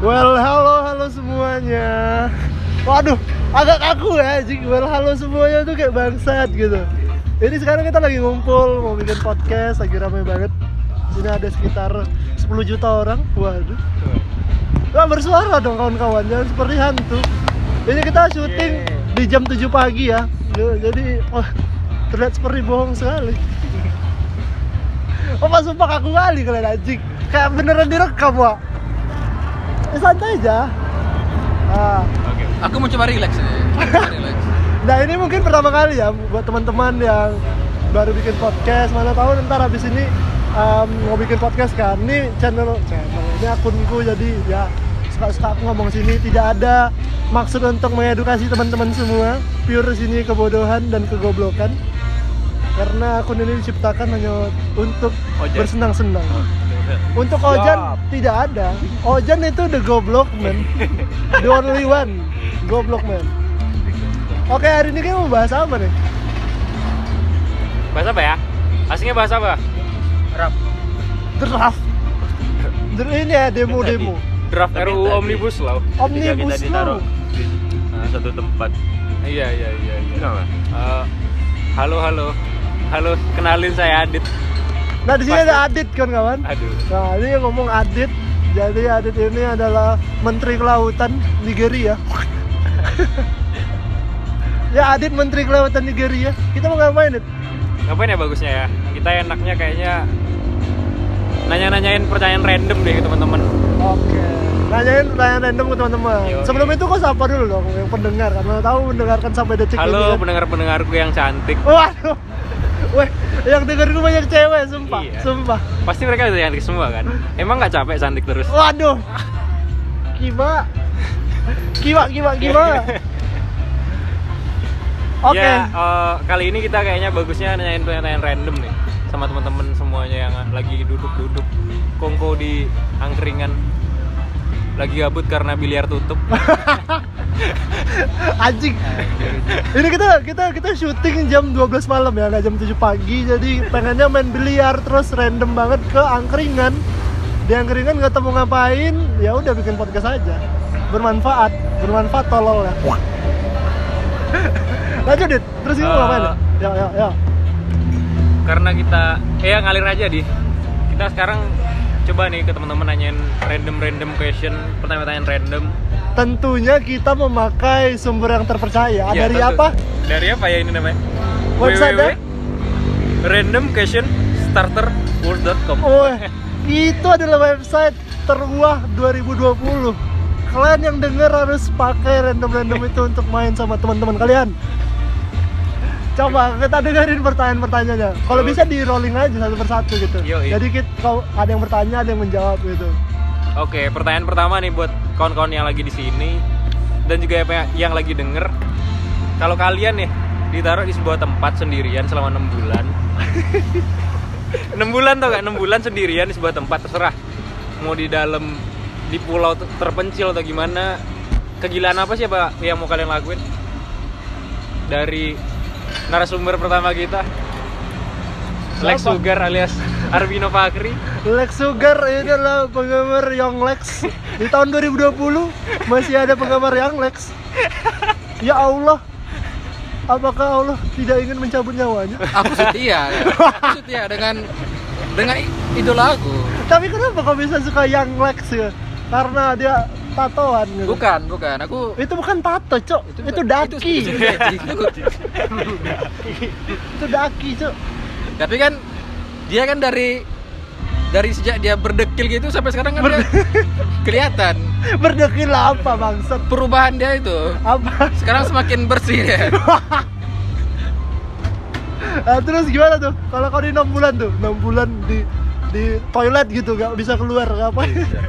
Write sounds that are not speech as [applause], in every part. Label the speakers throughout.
Speaker 1: Well, halo halo semuanya. Waduh, agak kaku ya, anjing. Well, halo semuanya tuh kayak bangsat gitu. Ini sekarang kita lagi ngumpul mau bikin podcast, lagi ramai banget. Sini ada sekitar 10 juta orang. Waduh. Lah bersuara dong kawan-kawan, jangan seperti hantu. Ini kita syuting
Speaker 2: Yeah.
Speaker 1: di jam 7 pagi ya. Jadi wah, terlihat seperti bohong sekali. Oh, Pak, sumpah kaku kali kalian anjing. Kayak beneran direkam, Wak. Eh, santai aja. Ah.
Speaker 3: Aku mau coba relax
Speaker 1: [laughs]
Speaker 3: aja. Coba relax.
Speaker 1: Nah, ini mungkin pertama kali ya buat teman-teman yang baru bikin podcast. Mana tahu ntar habis ini em, mau bikin podcast kan. Ini channel channel ini akunku jadi ya suka-suka aku ngomong sini tidak ada maksud untuk mengedukasi teman-teman semua. Pure sini kebodohan dan kegoblokan. Karena akun ini diciptakan hanya untuk
Speaker 2: Ojek. Oh, iya.
Speaker 1: bersenang-senang. Untuk
Speaker 2: Siap.
Speaker 1: Ojan tidak ada. Ojan itu the goblok man. The only one. Goblok man. Oke, hari ini kita mau bahas apa nih?
Speaker 2: Bahasa apa ya? Aslinya bahasa apa?
Speaker 3: Rap.
Speaker 1: Draft. Dr- Ini ya demo-demo.
Speaker 2: Draft
Speaker 4: Tapi
Speaker 2: RUU
Speaker 4: tadi-
Speaker 2: Omnibus Law.
Speaker 4: Ketika kita
Speaker 1: Omnibus
Speaker 4: ditaruh
Speaker 1: Law.
Speaker 4: di eh, satu tempat
Speaker 2: Iya, iya, iya, iya.
Speaker 4: kenapa
Speaker 2: Eh, halo, halo. Halo, kenalin saya Adit.
Speaker 1: Nah, di sini
Speaker 2: Pasti.
Speaker 1: ada Adit kan kawan?
Speaker 2: Aduh.
Speaker 1: Nah, ini yang ngomong Adit. Jadi Adit ini adalah Menteri Kelautan Nigeria. ya Adit Menteri Kelautan Nigeria. Kita mau ngapain, Dit?
Speaker 2: Ngapain ya bagusnya ya? Kita enaknya kayaknya nanya-nanyain pertanyaan random deh ke teman-teman.
Speaker 1: Oke. Nanyain pertanyaan random ke teman-teman.
Speaker 2: Yoi.
Speaker 1: Sebelum itu kok sapa dulu dong yang pendengar karena tahu mendengarkan sampai detik
Speaker 2: Halo
Speaker 1: ini. kan.
Speaker 2: pendengar-pendengarku yang cantik.
Speaker 1: Waduh. Weh, yang denger gue banyak cewek, sumpah,
Speaker 2: Iya.
Speaker 1: sumpah.
Speaker 2: Pasti mereka udah cantik semua kan? Emang nggak capek cantik terus?
Speaker 1: Waduh. Kiba. Kiba, kiba, kiba. Oke.
Speaker 2: Ya, eh, kali ini kita kayaknya bagusnya nanyain pertanyaan random nih sama teman-teman semuanya yang lagi duduk-duduk kongko di angkringan lagi gabut karena biliar tutup.
Speaker 1: [laughs] anjing ini kita kita kita syuting jam 12 malam ya nggak jam 7 pagi jadi pengennya main biliar terus random banget ke angkringan di angkringan nggak tahu mau ngapain ya udah bikin podcast aja bermanfaat bermanfaat tolol ya lanjut dit terus ini mau ngapain ya ya ya
Speaker 2: karena kita eh ya, ngalir aja di kita sekarang coba nih ke teman-teman nanyain random random question pertanyaan-pertanyaan random
Speaker 1: tentunya kita memakai sumber yang terpercaya
Speaker 2: Ya,
Speaker 1: Ah, dari
Speaker 2: tentu.
Speaker 1: apa
Speaker 2: dari apa ya ini namanya
Speaker 1: Website-nya?
Speaker 2: random question starter world.com
Speaker 1: Oh, itu adalah website terwah 2020. Kalian yang denger harus pakai random-random itu untuk main sama teman-teman kalian. Coba kita dengerin pertanyaan-pertanyaannya. Kalau bisa di rolling aja satu persatu gitu.
Speaker 2: Yoi.
Speaker 1: Jadi kita kalau ada yang bertanya, ada yang menjawab gitu.
Speaker 2: oke pertanyaan pertama nih buat kawan-kawan yang lagi di sini dan juga yang- yang lagi denger kalau kalian nih ditaruh di sebuah tempat sendirian selama enam bulan [laughs] 6 bulan tau gak? 6 bulan sendirian di sebuah tempat terserah mau di dalam di pulau ter- terpencil atau gimana kegilaan apa sih apa yang mau kalian lakuin dari narasumber pertama kita Lex
Speaker 1: Siapa?
Speaker 2: Sugar alias Arvino Fakri
Speaker 1: Lex Sugar ini adalah penggemar Young Lex. Di tahun 2020 masih ada penggemar Young Lex. Ya Allah, apakah Allah tidak ingin mencabut nyawanya?
Speaker 3: Aku setia. ya. Aku setia dengan dengan i- idola aku.
Speaker 1: Tapi kenapa kau bisa suka Young Lex ya? Karena dia tatoan gitu.
Speaker 3: Bukan, bukan. Aku
Speaker 1: Itu bukan tato, Cok. Itu,
Speaker 3: bukan-
Speaker 1: daki.
Speaker 3: itu-
Speaker 1: Itu,
Speaker 3: itu daki. Itu-
Speaker 1: daki, Cok.
Speaker 3: Tapi kan dia kan dari dari sejak dia berdekil gitu sampai sekarang kan dia [laughs] kelihatan
Speaker 1: Berdekil apa, bangsat?
Speaker 3: perubahan dia itu.
Speaker 1: Apa?
Speaker 3: Sekarang semakin bersih ya.
Speaker 1: Ah, terus gimana tuh? Kalau kau di 6 bulan tuh, 6 bulan di di toilet gitu nggak bisa keluar ngapain
Speaker 3: Iya.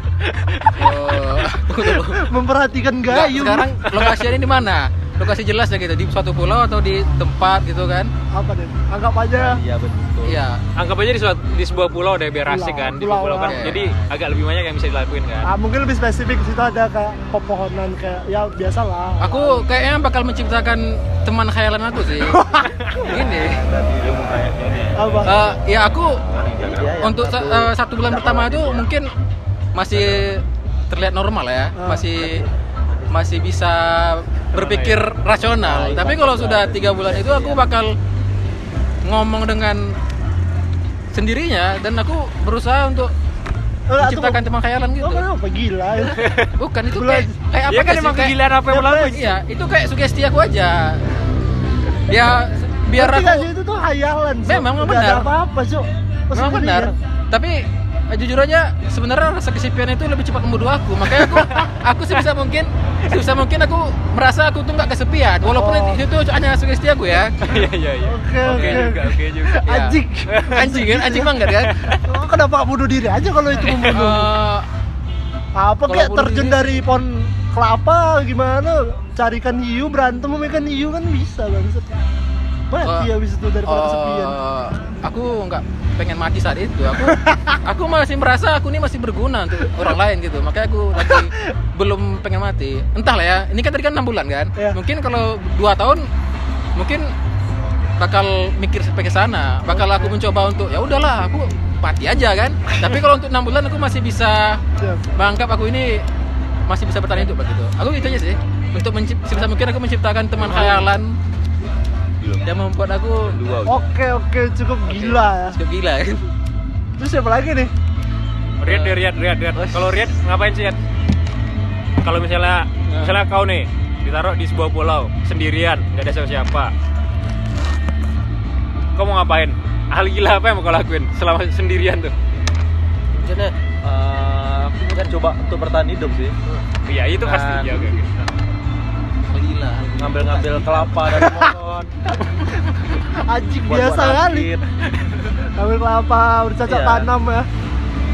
Speaker 3: Oh, tunggu, tunggu. [laughs]
Speaker 1: memperhatikan
Speaker 3: Nggak,
Speaker 1: gayung
Speaker 3: sekarang lokasinya ini di mana? Lokasi jelas ya gitu, di suatu pulau atau di tempat gitu kan?
Speaker 1: apa deh anggap aja
Speaker 4: iya betul
Speaker 3: Iya.
Speaker 2: anggap aja di, suat- di sebuah pulau deh biar asik
Speaker 1: Pulau,
Speaker 2: kan di
Speaker 1: pulau
Speaker 2: pulau kan
Speaker 3: lah.
Speaker 2: jadi agak lebih banyak yang bisa dilakuin kan
Speaker 1: ah, mungkin lebih spesifik di situ ada kayak pepohonan kayak ya biasalah
Speaker 3: Aku kayaknya bakal menciptakan teman khayalan aku
Speaker 2: [laughs]
Speaker 3: sih. Gini.
Speaker 1: apa
Speaker 3: Eh, ya aku untuk sa- eh, satu bulan pertama itu mungkin masih terlihat normal ya,
Speaker 1: Ah.
Speaker 3: masih masih bisa berpikir rasional.
Speaker 4: Nah,
Speaker 3: Tapi kalau sudah tiga bulan itu
Speaker 2: Iya.
Speaker 3: aku bakal ngomong dengan sendirinya dan aku berusaha untuk
Speaker 1: Lah, tuh,
Speaker 3: menciptakan teman khayalan gitu.
Speaker 1: Oh, kenapa gila
Speaker 3: [laughs]
Speaker 1: ya?
Speaker 3: Bukan itu
Speaker 1: Bulan.
Speaker 3: kayak, kayak apa
Speaker 2: Dia kan
Speaker 3: sih?
Speaker 2: emang
Speaker 3: Kayak-
Speaker 2: kegilaan apa yang
Speaker 1: Apa
Speaker 2: berlaku?
Speaker 1: sih?
Speaker 3: Iya, itu kayak sugesti aku aja. Ya biar
Speaker 1: Ngerti nggak sih,
Speaker 3: aku
Speaker 1: itu tuh hayalan. Cuk.
Speaker 3: Memang, memang
Speaker 1: Nggak ada
Speaker 3: benar.
Speaker 1: apa-apa, Cuk. Pas
Speaker 3: memang
Speaker 1: sendiri,
Speaker 3: benar. Iya.
Speaker 1: ya.
Speaker 3: Tapi eh, jujur aja sebenarnya rasa kesepian itu lebih cepat membunuh aku. Makanya
Speaker 1: [laughs]
Speaker 3: aku aku sebisa mungkin sebisa mungkin aku merasa aku tuh nggak kesepian. Walaupun
Speaker 1: Oh.
Speaker 3: itu hanya sugesti aku
Speaker 1: [laughs]
Speaker 3: ya.
Speaker 2: [laughs] Iya iya iya.
Speaker 1: Oke,
Speaker 2: Oke
Speaker 1: oke.
Speaker 2: juga, oke juga.
Speaker 3: Iya.
Speaker 1: Anjing.
Speaker 3: [laughs] Anjing kan, anjing banget kan.
Speaker 1: Oh, kenapa nggak bunuh diri aja kalau
Speaker 3: [laughs]
Speaker 1: itu membunuh?
Speaker 3: Eh,
Speaker 1: apa
Speaker 3: Oh, kalau
Speaker 1: kayak
Speaker 3: bunuh
Speaker 1: terjun
Speaker 3: diri-
Speaker 1: dari pohon kelapa gimana? Carikan hiu, berantem sama ikan hiu kan bisa banget. Mati
Speaker 3: Oh.
Speaker 1: habis itu dari pohon kesepian.
Speaker 3: eh, aku nggak pengen mati saat itu.
Speaker 1: [laughs]
Speaker 3: Aku aku masih merasa aku ini masih berguna untuk orang lain gitu. Makanya aku
Speaker 1: [laughs]
Speaker 3: lagi belum pengen mati. Entahlah ya. Ini kan tadi kan 6 bulan kan.
Speaker 1: Iya.
Speaker 3: Mungkin kalau 2 tahun mungkin bakal mikir sampai ke sana. Bakal aku mencoba untuk ya udahlah aku mati aja kan. Tapi kalau untuk 6 bulan aku masih bisa
Speaker 1: Siap.
Speaker 3: menganggap aku ini masih bisa bertahan hidup begitu. Aku gitu aja sih. Untuk mencip- sebisa mungkin aku menciptakan teman khayalan
Speaker 4: belum
Speaker 3: yang membuat aku
Speaker 4: dua udah.
Speaker 1: Oke, oke, cukup gila ya.
Speaker 3: Cukup gila kan?
Speaker 1: Terus siapa lagi nih?
Speaker 2: Riat deh, Riat, Riat, Riat. Kalau Riat ngapain sih, Riat? Kalau misalnya misalnya kau nih ditaruh di sebuah pulau sendirian, nggak ada siapa-siapa. Kau mau ngapain? Hal gila apa yang mau kau lakuin selama sendirian tuh?
Speaker 4: Jadi, eh, aku kan coba untuk bertahan hidup sih
Speaker 2: Iya, itu pasti. Ya, oke, oke.
Speaker 3: Gila.
Speaker 4: ngambil-ngambil kelapa
Speaker 1: [laughs]
Speaker 4: dari pohon
Speaker 1: Anjing
Speaker 4: buat-buat
Speaker 1: biasa kali.
Speaker 4: rakit.
Speaker 1: Ambil kelapa, bercocok
Speaker 4: Iya.
Speaker 1: tanam ya.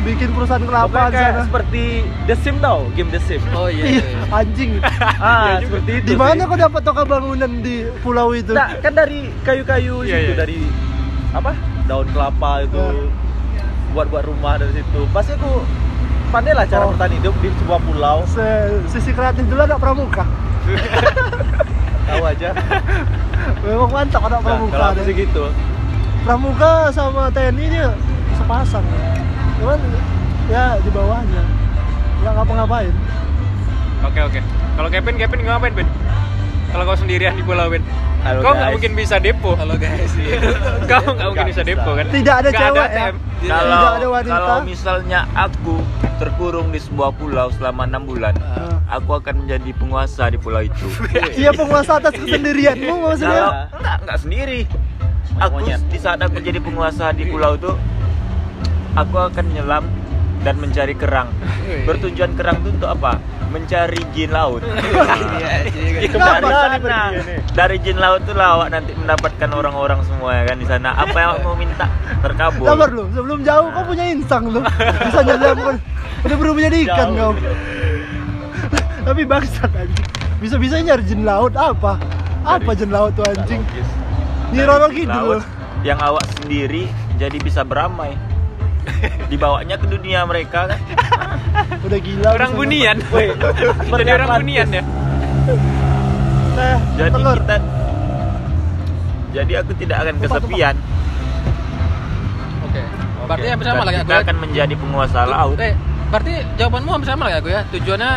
Speaker 1: Bikin perusahaan kelapa
Speaker 4: Pokoknya
Speaker 1: di
Speaker 4: kayak
Speaker 1: sana.
Speaker 4: seperti The Sim tau game The
Speaker 1: [laughs]
Speaker 4: Sim
Speaker 3: Oh iya.
Speaker 1: Ih,
Speaker 3: iya.
Speaker 1: anjing.
Speaker 4: ah seperti [laughs] itu
Speaker 1: Di mana
Speaker 4: sih.
Speaker 1: kau dapat toko bangunan di pulau itu?
Speaker 4: Nah, kan dari kayu-kayu
Speaker 2: Iya,
Speaker 4: itu
Speaker 2: iya.
Speaker 4: dari apa daun kelapa itu
Speaker 1: Iya.
Speaker 4: buat-buat rumah dari situ pasti aku pandai lah cara
Speaker 1: Oh.
Speaker 4: bertahan hidup di sebuah pulau
Speaker 1: Se- sisi kreatif dulu ada pramuka.
Speaker 4: tahu
Speaker 1: [laughs]
Speaker 4: aja
Speaker 1: Memang mantap ada
Speaker 4: nah,
Speaker 1: pramuka.
Speaker 4: kalau aku
Speaker 1: deh.
Speaker 4: sih gitu
Speaker 1: pramuka sama TNI nya sepasang. Cuman ya di bawahnya nggak ngapa-ngapain.
Speaker 2: Oke, oke. Kalau Kevin, Kevin ngapain, Ben? Kalau kau sendirian di pulau, Ben?
Speaker 4: Halo,
Speaker 2: kau nggak
Speaker 4: guys.
Speaker 2: mungkin bisa depo.
Speaker 3: Halo guys.
Speaker 2: [laughs] kau nggak mungkin
Speaker 4: Nggak
Speaker 2: bisa
Speaker 4: bisa.
Speaker 2: depo kan?
Speaker 1: Tidak ada
Speaker 2: Nggak
Speaker 1: cewek ya.
Speaker 2: ATM.
Speaker 3: Tidak
Speaker 4: kalau
Speaker 1: ada wanita.
Speaker 4: kalau misalnya aku terkurung di sebuah pulau selama enam bulan
Speaker 1: Ah.
Speaker 4: aku akan menjadi penguasa di pulau itu
Speaker 1: Iya penguasa atas kesendirianmu
Speaker 4: kalau
Speaker 1: maksudnya.
Speaker 4: enggak enggak sendiri aku di saat aku jadi penguasa di pulau itu aku akan nyelam dan mencari kerang bertujuan kerang itu untuk apa mencari jin laut
Speaker 3: [laughs] Iya, iya.
Speaker 4: Dari
Speaker 1: Kenapa
Speaker 4: sana,
Speaker 1: tadi pergi ini?
Speaker 4: dari jin laut tuh lawak nanti mendapatkan orang-orang semua ya kan di sana. Apa yang mau minta terkabul.
Speaker 1: Sabar lu, sebelum jauh kau punya insang lu. Bisa
Speaker 4: [laughs]
Speaker 1: nyelam udah berubah jadi ikan
Speaker 4: Jauh.
Speaker 1: kau. Tapi bangsat anjing. Bisa-bisanya nyari jin laut apa? Apa jin laut tuh anjing? Niroro
Speaker 4: Dari
Speaker 1: Kidul.
Speaker 4: laut yang awak sendiri jadi bisa beramai dibawanya ke dunia mereka kan
Speaker 1: Udah gila.
Speaker 2: Orang
Speaker 1: bisa [laughs]
Speaker 2: bunian.
Speaker 4: Weh,
Speaker 2: Jadi orang bunian ya.
Speaker 1: nyelam. Nah,
Speaker 4: jadi
Speaker 1: telur.
Speaker 4: kita jadi aku tidak akan kesepian
Speaker 3: Oke. Berarti
Speaker 4: Oke.
Speaker 3: hampir sama
Speaker 4: Dan
Speaker 3: lah ya, kayak
Speaker 4: kita
Speaker 3: gue.
Speaker 4: akan menjadi penguasa laut
Speaker 1: Ya.
Speaker 3: Eh, berarti jawabanmu hampir sama lah kayak gue ya. Tujuannya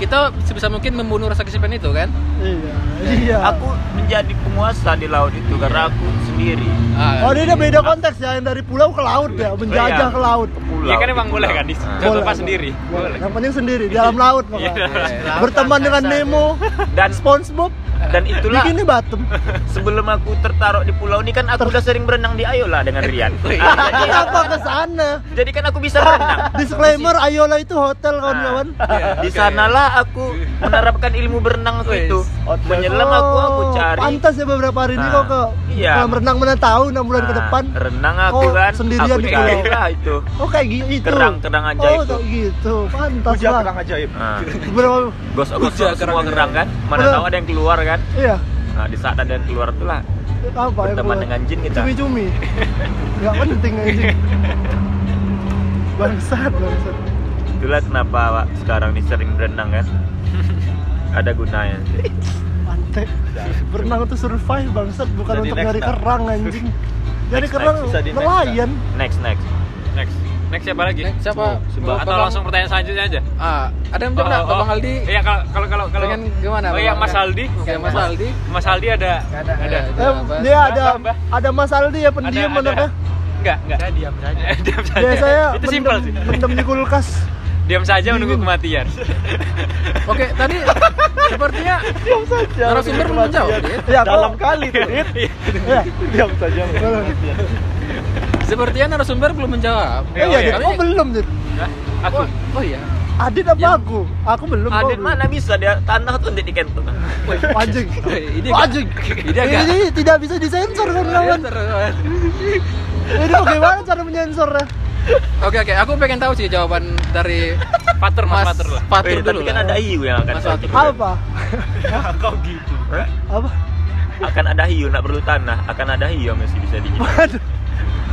Speaker 3: kita sebisa mungkin membunuh rasa kesepian itu kan.
Speaker 1: Iya. Iya.
Speaker 4: aku menjadi penguasa di laut itu
Speaker 3: Iya.
Speaker 4: karena aku sendiri
Speaker 1: Oh,
Speaker 3: Ah,
Speaker 1: ini ada beda konteks ya, yang dari pulau ke laut ya, menjajah
Speaker 4: Iya.
Speaker 1: ke laut.
Speaker 4: Ke pulau,
Speaker 2: Iya kan
Speaker 4: di
Speaker 2: emang boleh
Speaker 4: pulau.
Speaker 2: kan di
Speaker 4: Nah.
Speaker 2: Jangan
Speaker 1: Boleh,
Speaker 2: lepas
Speaker 1: boleh.
Speaker 2: sendiri.
Speaker 1: Boleh. Yang penting sendiri di dalam laut makanya.
Speaker 3: Iya.
Speaker 1: Berteman
Speaker 3: Laut
Speaker 1: dengan
Speaker 3: angkasa.
Speaker 1: Nemo,
Speaker 4: dan
Speaker 1: SpongeBob,
Speaker 4: dan itulah
Speaker 1: bikinnya Batem.
Speaker 4: sebelum aku tertaruh di pulau ini kan aku udah sering berenang di Ayola dengan Rian Ah, jadi,
Speaker 1: Kenapa ke sana?
Speaker 4: jadi kan aku bisa berenang
Speaker 1: Disclaimer, Ayola itu hotel kawan-kawan.
Speaker 2: [laughs]
Speaker 3: Iya,
Speaker 4: di
Speaker 3: oke.
Speaker 4: sanalah aku menerapkan ilmu berenang
Speaker 3: Wes.
Speaker 4: itu menyelam Ya, aku aku
Speaker 1: Oh,
Speaker 4: cari
Speaker 1: Pantas ya beberapa hari ini
Speaker 4: Nah,
Speaker 1: kok ke
Speaker 4: iya.
Speaker 1: kolam renang mana tahu 6 bulan ke
Speaker 4: Nah,
Speaker 1: depan.
Speaker 4: renang aku
Speaker 1: Kau
Speaker 4: kan
Speaker 1: sendirian
Speaker 4: aku
Speaker 1: di
Speaker 4: cari
Speaker 1: pulau.
Speaker 4: lah itu
Speaker 1: Oh kayak gitu. itu.
Speaker 4: Kerang-kerang ajaib
Speaker 1: Oh
Speaker 4: tuh.
Speaker 1: kayak gitu. Pantas lah.
Speaker 5: ajaib.
Speaker 4: Nah,
Speaker 1: Berapa?
Speaker 4: gosok-gosok
Speaker 3: Ujar
Speaker 4: semua
Speaker 3: kerang
Speaker 4: kerang kan mana
Speaker 1: Bener.
Speaker 4: tahu ada yang keluar kan
Speaker 1: Iya.
Speaker 4: nah di saat ada yang keluar itulah
Speaker 1: Apa yang
Speaker 4: berteman
Speaker 1: keluar?
Speaker 4: dengan jin kita [laughs]
Speaker 1: Cumi-cumi. Gak penting anjing. Bangsat, bangsat.
Speaker 4: itulah kenapa Wak, sekarang ini sering berenang [laughs] kan ada gunanya sih.
Speaker 1: Pantai. Berenang itu survive bangsat, bukan
Speaker 5: Jadi
Speaker 1: untuk
Speaker 5: next
Speaker 1: nyari
Speaker 4: [laughs]
Speaker 5: time.
Speaker 1: kerang anjing. Nyari
Speaker 4: Next
Speaker 1: kerang
Speaker 4: time, bisa di next
Speaker 1: nelayan.
Speaker 4: next next
Speaker 2: Next. Next siapa lagi?
Speaker 3: Next siapa?
Speaker 2: Simbah. Atau
Speaker 3: Bang-
Speaker 2: langsung pertanyaan selanjutnya aja.
Speaker 3: Ah, ada yang bilang nggak ke Bang Aldi?
Speaker 2: Iya kalau kalau kalau kalau
Speaker 3: Pengen gimana,
Speaker 2: Oh iya
Speaker 3: Bang?
Speaker 2: Mas Aldi.
Speaker 3: Oke, Mas Aldi.
Speaker 2: Mas Aldi ada ada. iya.
Speaker 3: Ada.
Speaker 1: Eh, dia ada
Speaker 2: Tambah.
Speaker 1: ada Mas Aldi ya pendiam
Speaker 2: [laughs]
Speaker 1: anaknya.
Speaker 2: Enggak, enggak.
Speaker 5: Saya diam saja.
Speaker 2: [laughs] Diam saja.
Speaker 1: Biasanya
Speaker 2: Itu simpel
Speaker 1: mendem,
Speaker 2: sih.
Speaker 1: mendem di kulkas.
Speaker 2: Diam saja menunggu kematian.
Speaker 3: Oke, tadi sepertinya
Speaker 5: Diam saja.
Speaker 3: narasumber belum menjawab. Dit.
Speaker 1: Ya,
Speaker 5: Dalam
Speaker 1: kok-
Speaker 4: kan?
Speaker 5: kali tuh. Dit.
Speaker 1: Ya.
Speaker 5: Diam saja.
Speaker 3: Sepertinya narasumber belum menjawab.
Speaker 1: Eh, iya,
Speaker 2: Oh, iya.
Speaker 1: Dit. Kok belum, Dit?
Speaker 2: Hah? Aku
Speaker 3: Oh, oh iya.
Speaker 1: Adit apa aku? Aku belum. kok
Speaker 4: Adit
Speaker 1: belum.
Speaker 4: mana bisa dia tanah tuh Dit di kantong.
Speaker 1: Anjing.
Speaker 3: Ini
Speaker 1: Oh, Anjing.
Speaker 3: Ini agak-
Speaker 1: Ini tidak bisa disensor
Speaker 3: Iya,
Speaker 1: kan kawan.
Speaker 3: Terus.
Speaker 1: Ini bagaimana cara menyensornya?
Speaker 3: Oke oke, aku pengen tahu sih jawaban dari
Speaker 2: pater Mas
Speaker 3: Mas
Speaker 2: Pater lah.
Speaker 3: Fatur
Speaker 4: Eh,
Speaker 3: dulu.
Speaker 4: tapi kan
Speaker 3: lah.
Speaker 4: ada hiu yang akan
Speaker 3: Mas
Speaker 4: [laughs] sakit.
Speaker 3: Fatur.
Speaker 1: Apa?
Speaker 5: Kau gitu.
Speaker 4: Hah?
Speaker 1: Apa?
Speaker 4: Akan ada hiu, nggak perlu tanah. Akan ada hiu yang masih bisa dihidup.
Speaker 1: Waduh.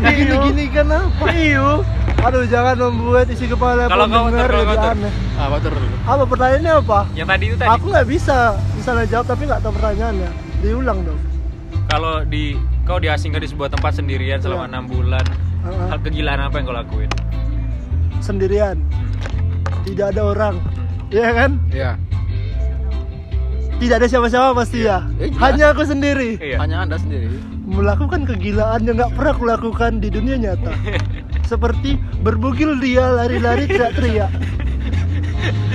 Speaker 1: Gini gini kenapa? Iyo. Aduh jangan membuat isi kepala
Speaker 2: Kalau kau,
Speaker 1: pendengar
Speaker 2: Tur, kalau
Speaker 1: jadi
Speaker 2: kau, Tur.
Speaker 1: aneh.
Speaker 3: Ah, Fatur dulu.
Speaker 1: Apa pertanyaannya apa?
Speaker 2: Yang tadi itu tadi.
Speaker 1: Aku nggak bisa misalnya jawab tapi nggak tahu pertanyaannya. Diulang dong.
Speaker 2: Kalau di kau diasingkan di sebuah tempat sendirian selama
Speaker 1: Iya.
Speaker 2: enam bulan,
Speaker 1: Heeh.
Speaker 2: hal kegilaan apa yang kau lakuin?
Speaker 1: Sendirian. Tidak ada orang. Iya kan?
Speaker 3: Iya.
Speaker 1: Tidak ada siapa-siapa pasti ya.
Speaker 3: Eh, jelas.
Speaker 1: Hanya aku sendiri
Speaker 2: Iya.
Speaker 3: Hanya Anda
Speaker 4: [laughs]
Speaker 3: sendiri.
Speaker 1: melakukan kegilaan yang nggak pernah aku lakukan di dunia nyata. Seperti berbugil dia lari-lari teriak-teriak.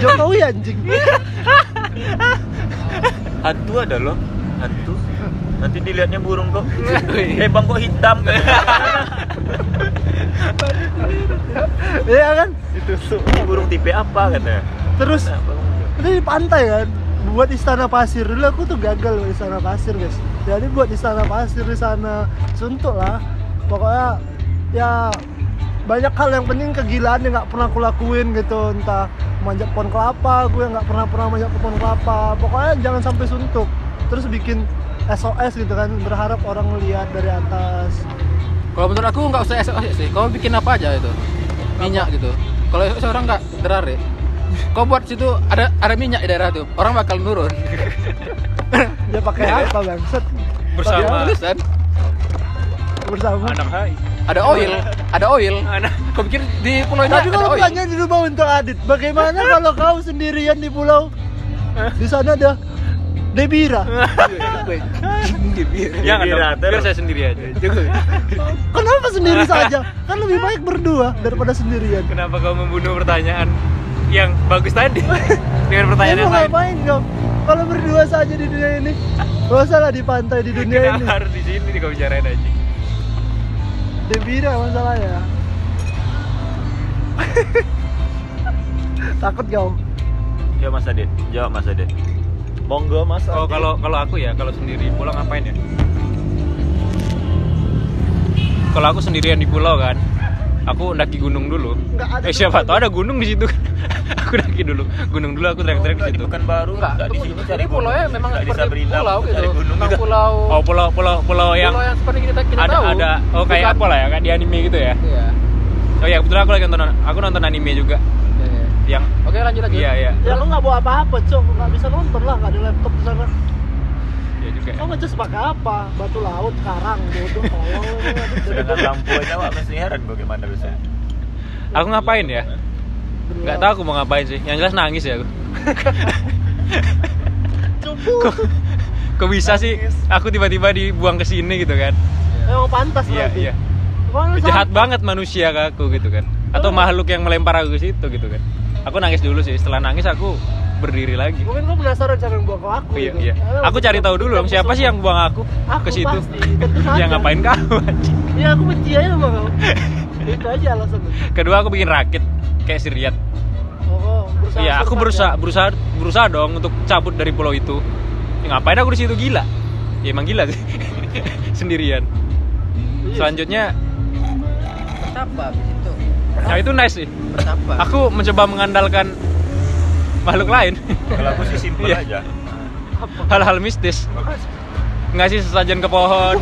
Speaker 1: Jokowi anjing.
Speaker 4: Hantu ada loh. Hantu. Nanti dilihatnya burung kok.
Speaker 3: [laughs]
Speaker 4: eh bang kok hitam.
Speaker 1: Iya kan?
Speaker 4: Ditusuk. Ini burung tipe apa katanya?
Speaker 1: Terus Ini di pantai kan buat istana pasir dulu aku tuh gagal buat istana pasir guys jadi buat istana pasir di sana suntuk lah pokoknya ya banyak hal yang penting kegilaan yang nggak pernah aku lakuin gitu entah manjat pohon kelapa gue nggak pernah pernah manjat ke pohon kelapa pokoknya jangan sampai suntuk terus bikin SOS gitu kan berharap orang lihat dari atas
Speaker 3: Kalau menurut aku nggak usah SOS sih. Kau bikin apa aja itu? Minyak gitu. Kalau SOS orang nggak tertarik. Kau buat situ ada ada minyak di daerah tuh. Orang bakal nurun.
Speaker 1: dia pakai apa bangset
Speaker 4: Ah.
Speaker 2: Bersama
Speaker 3: Terus kan
Speaker 1: bersama
Speaker 2: anak hai.
Speaker 3: ada oil, ada oil.
Speaker 2: Anak
Speaker 1: [laughs]
Speaker 3: Kau pikir di pulau ini
Speaker 1: Tapi
Speaker 3: ada
Speaker 1: kalau
Speaker 3: oil?
Speaker 1: pertanyaan di rumah untuk Adit, [laughs] bagaimana kalau kau sendirian di pulau? Di sana ada Debira.
Speaker 2: Jangan dong, Ya, biar
Speaker 4: Gembira, terus.
Speaker 2: saya sendiri
Speaker 1: [laughs]
Speaker 2: aja.
Speaker 1: Kenapa sendiri saja? Kan lebih baik berdua daripada sendirian.
Speaker 2: Kenapa kau membunuh pertanyaan yang bagus
Speaker 1: [laughs]
Speaker 2: tadi
Speaker 1: Ya,
Speaker 2: dengan pertanyaan
Speaker 1: mau
Speaker 2: yang lain?
Speaker 1: ngapain kau? Kalau berdua saja di dunia ini, gak usah lah di pantai di dunia ini.
Speaker 2: Kenapa harus di sini nih kau bicarain aja?
Speaker 1: Debira [laughs] masalahnya. Takut kau?
Speaker 4: Ya Mas Adit, jawab Mas Adit.
Speaker 5: Monggo Mas.
Speaker 2: Oh
Speaker 5: Adit.
Speaker 2: kalau kalau aku ya kalau sendiri pulang ngapain ya? Kalau aku sendirian di pulau kan, aku daki gunung dulu.
Speaker 1: Nggak ada
Speaker 2: eh siapa
Speaker 1: gunung.
Speaker 2: tahu ada gunung di situ. kan? [laughs] aku daki dulu, gunung dulu aku trek-trek di
Speaker 4: Enggak, di
Speaker 2: situ.
Speaker 4: Pekanbaru,
Speaker 3: Enggak,
Speaker 4: enggak di
Speaker 3: tunggu
Speaker 4: sini
Speaker 3: dulu.
Speaker 4: cari
Speaker 3: Jadi pulau ya
Speaker 4: gunung,
Speaker 3: memang
Speaker 4: enggak di
Speaker 3: seperti
Speaker 4: Sabrina,
Speaker 3: pulau
Speaker 4: cari
Speaker 3: gitu. [laughs]
Speaker 4: gunung
Speaker 3: Memang
Speaker 4: juga.
Speaker 3: pulau
Speaker 2: Oh pulau pulau pulau yang
Speaker 3: pulau yang seperti kita kita
Speaker 2: ada
Speaker 3: tahu.
Speaker 2: ada oh kayak
Speaker 3: Bukan-
Speaker 2: apa lah ya kayak di anime gitu ya.
Speaker 3: Iya.
Speaker 2: Oh ya kebetulan aku lagi nonton aku nonton anime juga
Speaker 3: Iya, iya.
Speaker 2: yang
Speaker 3: Oke, lanjut lagi.
Speaker 2: iya iya
Speaker 1: Ya lu nggak bawa apa-apa, cok. Nggak bisa nonton lah, nggak ada laptop di sana.
Speaker 2: iya juga.
Speaker 1: Kau ngecas pakai apa? Batu laut, karang, bodoh, tolol.
Speaker 4: Sedangkan lampu aja Pak masih heran bagaimana bisa.
Speaker 2: Aku ngapain ya? Nggak tahu aku mau ngapain sih. Yang jelas nangis ya aku.
Speaker 1: Cukup.
Speaker 2: Kok bisa sih aku tiba-tiba dibuang ke sini gitu kan?
Speaker 1: Emang Eh, pantas
Speaker 2: Iya
Speaker 1: berarti.
Speaker 2: iya.
Speaker 1: Emang lu
Speaker 2: Jahat
Speaker 1: sama-
Speaker 2: banget manusia ke aku gitu kan. Atau makhluk yang melempar aku ke situ gitu kan. Aku nangis dulu sih. Setelah nangis aku berdiri lagi.
Speaker 1: Mungkin lu kan penasaran siapa yang buang ke aku.
Speaker 2: Iya
Speaker 1: gitu.
Speaker 2: iya.
Speaker 1: Emang
Speaker 2: Aku cari tahu dulu dong siapa sih yang buang aku
Speaker 1: Aku
Speaker 2: ke situ.
Speaker 1: pasti, tentu saja.
Speaker 2: Yang ngapain kau? anjing.
Speaker 1: Iya aku benci aja sama kau. Itu aja alasannya.
Speaker 2: Kedua aku bikin rakit kayak siriat.
Speaker 1: Oh, oh, berusaha.
Speaker 2: Iya, aku
Speaker 1: sesat
Speaker 2: berusaha
Speaker 1: ya.
Speaker 2: berusaha berusaha dong untuk cabut dari pulau itu. Ya, ngapain aku di situ gila? Ya emang gila sih. [laughs] Sendirian.
Speaker 1: Iya.
Speaker 2: Selanjutnya,
Speaker 3: Bertapa di situ.
Speaker 2: nah itu nice sih.
Speaker 3: Bertapa.
Speaker 2: Aku mencoba mengandalkan makhluk lain, [laughs]
Speaker 4: Kalau aku sih simpel
Speaker 2: Iya.
Speaker 4: aja.
Speaker 2: hal-hal mistis. Ngasih sesajen ke
Speaker 3: [laughs]
Speaker 2: pohon.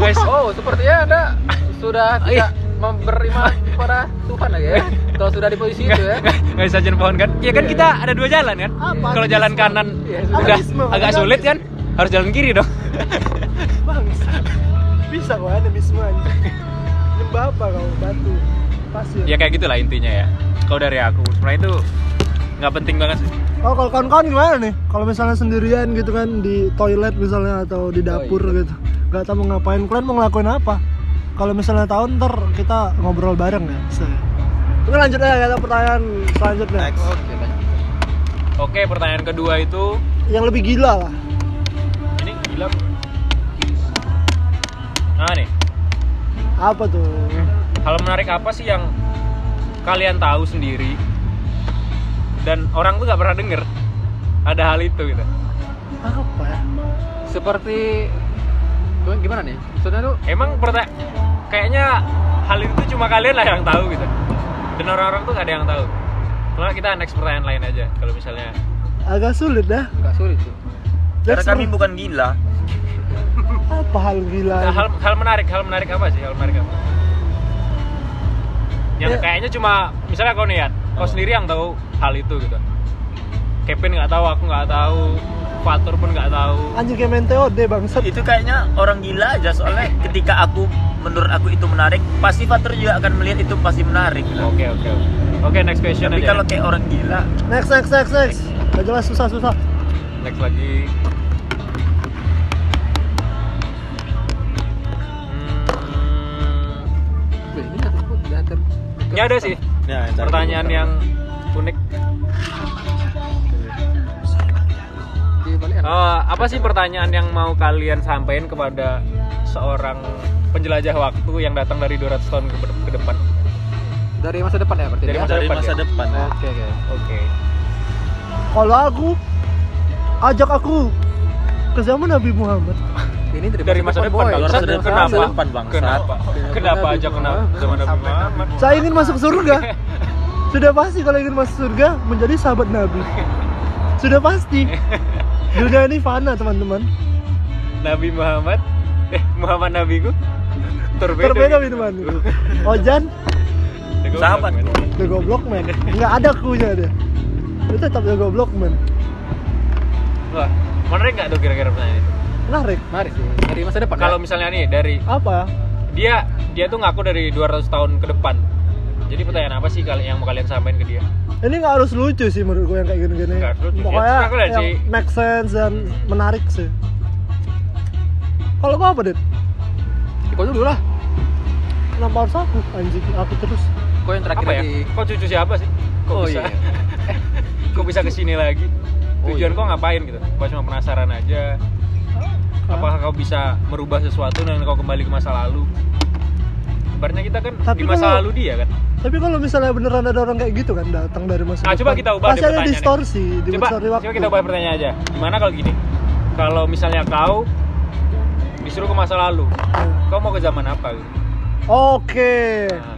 Speaker 2: Guys,
Speaker 3: Oh, sepertinya Anda sudah
Speaker 2: Ah,
Speaker 3: tidak
Speaker 2: iya.
Speaker 3: memberiman kepada Tuhan lagi ya. Kalau sudah di posisi itu ya.
Speaker 2: ngasih sesajen pohon kan? Ya kan kita ada dua jalan kan?
Speaker 1: Apa?
Speaker 2: Kalau jalan kanan
Speaker 3: Iya, sudah.
Speaker 2: udah
Speaker 1: Anarkisme,
Speaker 2: agak
Speaker 1: anarkis.
Speaker 2: sulit kan? Harus jalan kiri dong.
Speaker 1: Bang, bisa kok ada misman. Nyembah apa kau? Batu. pasir.
Speaker 2: ya kayak gitulah intinya ya kalau dari aku sebenarnya itu nggak penting banget sih
Speaker 1: Oh, kalau kawan-kawan gimana nih? Kalau misalnya sendirian gitu kan di toilet misalnya atau di dapur gitu. Gak tau mau ngapain, kalian mau ngelakuin apa? Kalau misalnya tahu ntar kita ngobrol bareng ya. Set. Oke lanjut aja kita pertanyaan selanjutnya.
Speaker 3: Oke, lanjut.
Speaker 2: oke pertanyaan kedua itu
Speaker 1: Yang lebih gila lah.
Speaker 2: ini gila nah nih
Speaker 1: Apa tuh?
Speaker 2: hal menarik apa sih yang kalian tahu sendiri dan orang tuh nggak pernah denger ada hal itu gitu
Speaker 1: Apa ya?
Speaker 3: Seperti Gimana- gimana nih? Maksudnya tuh
Speaker 2: emang perta- kayaknya hal itu tuh cuma kalian lah yang tahu gitu dan orang-orang tuh nggak ada yang tahu karena kita next pertanyaan lain aja kalau misalnya
Speaker 1: Agak sulit dah.
Speaker 3: nggak sulit tuh.
Speaker 4: Karena
Speaker 3: Iya,
Speaker 1: Let's
Speaker 4: kami
Speaker 1: move.
Speaker 4: bukan gila.
Speaker 1: apa hal gila?
Speaker 2: Nah, hal hal menarik hal menarik apa sih hal menarik apa yang
Speaker 1: Ya.
Speaker 2: kayaknya cuma misalnya kau niat kau sendiri yang tahu hal itu gitu Kevin nggak tahu aku nggak tahu Fatur pun nggak tahu
Speaker 1: Anjing kayak main TOD bangsat.
Speaker 4: Itu kayaknya orang gila aja soalnya ketika aku menurut aku itu menarik, pasti Fatur juga akan melihat itu pasti menarik.
Speaker 3: Iya.
Speaker 2: Oke oke oke. Oke next question
Speaker 4: Tapi
Speaker 2: aja.
Speaker 4: kalau kayak orang gila,
Speaker 1: Next next next next. Gak jelas susah susah.
Speaker 2: next lagi. Hmm,
Speaker 3: Wih, Ini nggak tersebut, nggak ter.
Speaker 2: ini ada sih
Speaker 5: Nah, yang tadi
Speaker 2: pertanyaan
Speaker 5: bentar.
Speaker 2: yang unik.
Speaker 3: Di balik ada.
Speaker 2: Eh, apa sih pertanyaan yang mau kalian sampaikan kepada seorang penjelajah waktu yang datang dari 200 tahun ke, ke depan?
Speaker 3: Dari masa depan ya berarti.
Speaker 2: Dari
Speaker 3: ya?
Speaker 2: masa
Speaker 5: dari
Speaker 2: depan
Speaker 5: masa
Speaker 2: ya?
Speaker 5: depan. ya.
Speaker 3: Oke, oke.
Speaker 2: Oke.
Speaker 1: Kalau aku ajak aku ke zaman Nabi Muhammad.
Speaker 3: Ini dari,
Speaker 2: Dari masa depan,
Speaker 3: boy.
Speaker 2: Bang.
Speaker 5: Dari
Speaker 3: Masa
Speaker 5: masa
Speaker 3: depan,
Speaker 5: depan,
Speaker 3: masa
Speaker 2: Kenapa?
Speaker 5: depan, bangsa.
Speaker 2: Kenapa? Kenapa
Speaker 3: Nabi
Speaker 2: aja kenapa?
Speaker 3: Muhammad.
Speaker 2: Zaman Nabi Muhammad.
Speaker 1: Saya ingin masuk surga. Sudah pasti kalau ingin masuk surga menjadi sahabat Nabi. Sudah pasti. Dunia ini fana teman-teman.
Speaker 2: Nabi Muhammad. Eh Muhammad [laughs] Nabiku. Terbeda.
Speaker 1: Berbeda minuman. Ojan,
Speaker 2: Ya, gua
Speaker 4: Sahabat.
Speaker 2: bilang, men.
Speaker 1: the goblok man. Nggak ada kunya dia. Itu tetap the goblok man.
Speaker 2: Wah, menarik nggak tuh kira-kira pertanyaan itu?
Speaker 1: Menarik.
Speaker 3: Mari sih. Dari masa depan.
Speaker 2: Kalau
Speaker 3: ya?
Speaker 2: misalnya nih dari
Speaker 1: Apa ya?
Speaker 2: dia dia tuh ngaku dari 200 tahun ke depan. Jadi pertanyaan apa sih kalian yang mau kalian sampaikan ke dia?
Speaker 1: Ini nggak harus lucu sih menurut gue yang kayak gini-gini.
Speaker 2: Nggak harus lucu. Ya,
Speaker 1: Pokoknya
Speaker 2: terserah kalian
Speaker 1: yang
Speaker 2: sih.
Speaker 1: make sense dan menarik sih. Kalau gue apa, Dit?
Speaker 3: kau dulu lah.
Speaker 1: Kenapa harus aku? Anjing, aku terus.
Speaker 3: Kau yang terakhir
Speaker 2: Apa ya?
Speaker 3: di
Speaker 2: Kok cucu siapa sih? Kok
Speaker 3: Oh,
Speaker 2: bisa?
Speaker 3: iya.
Speaker 2: [laughs]
Speaker 3: [laughs]
Speaker 2: Kok bisa kesini lagi?
Speaker 3: Oh,
Speaker 2: Tujuan
Speaker 3: iya.
Speaker 2: kau ngapain gitu? Kau cuma penasaran aja. Apakah kau bisa merubah sesuatu dan kau kembali ke masa lalu? Sebenarnya kita kan
Speaker 1: Tapi
Speaker 2: di masa
Speaker 1: kalau-
Speaker 2: lalu dia kan.
Speaker 1: Tapi kalau misalnya beneran ada orang kayak gitu kan datang dari masa
Speaker 2: Ah, coba
Speaker 1: depan,
Speaker 2: kita ubah deh
Speaker 1: Pasti ada
Speaker 2: pertanyaannya.
Speaker 1: distorsi, di
Speaker 2: coba,
Speaker 1: distorsi waktu.
Speaker 2: coba kita bahas pertanyaan aja. Gimana kalau gini? Kalau misalnya kau disuruh ke masa lalu,
Speaker 1: Hmm.
Speaker 2: kau mau ke zaman apa? Gitu?
Speaker 1: Oh, Oke.
Speaker 2: Nah,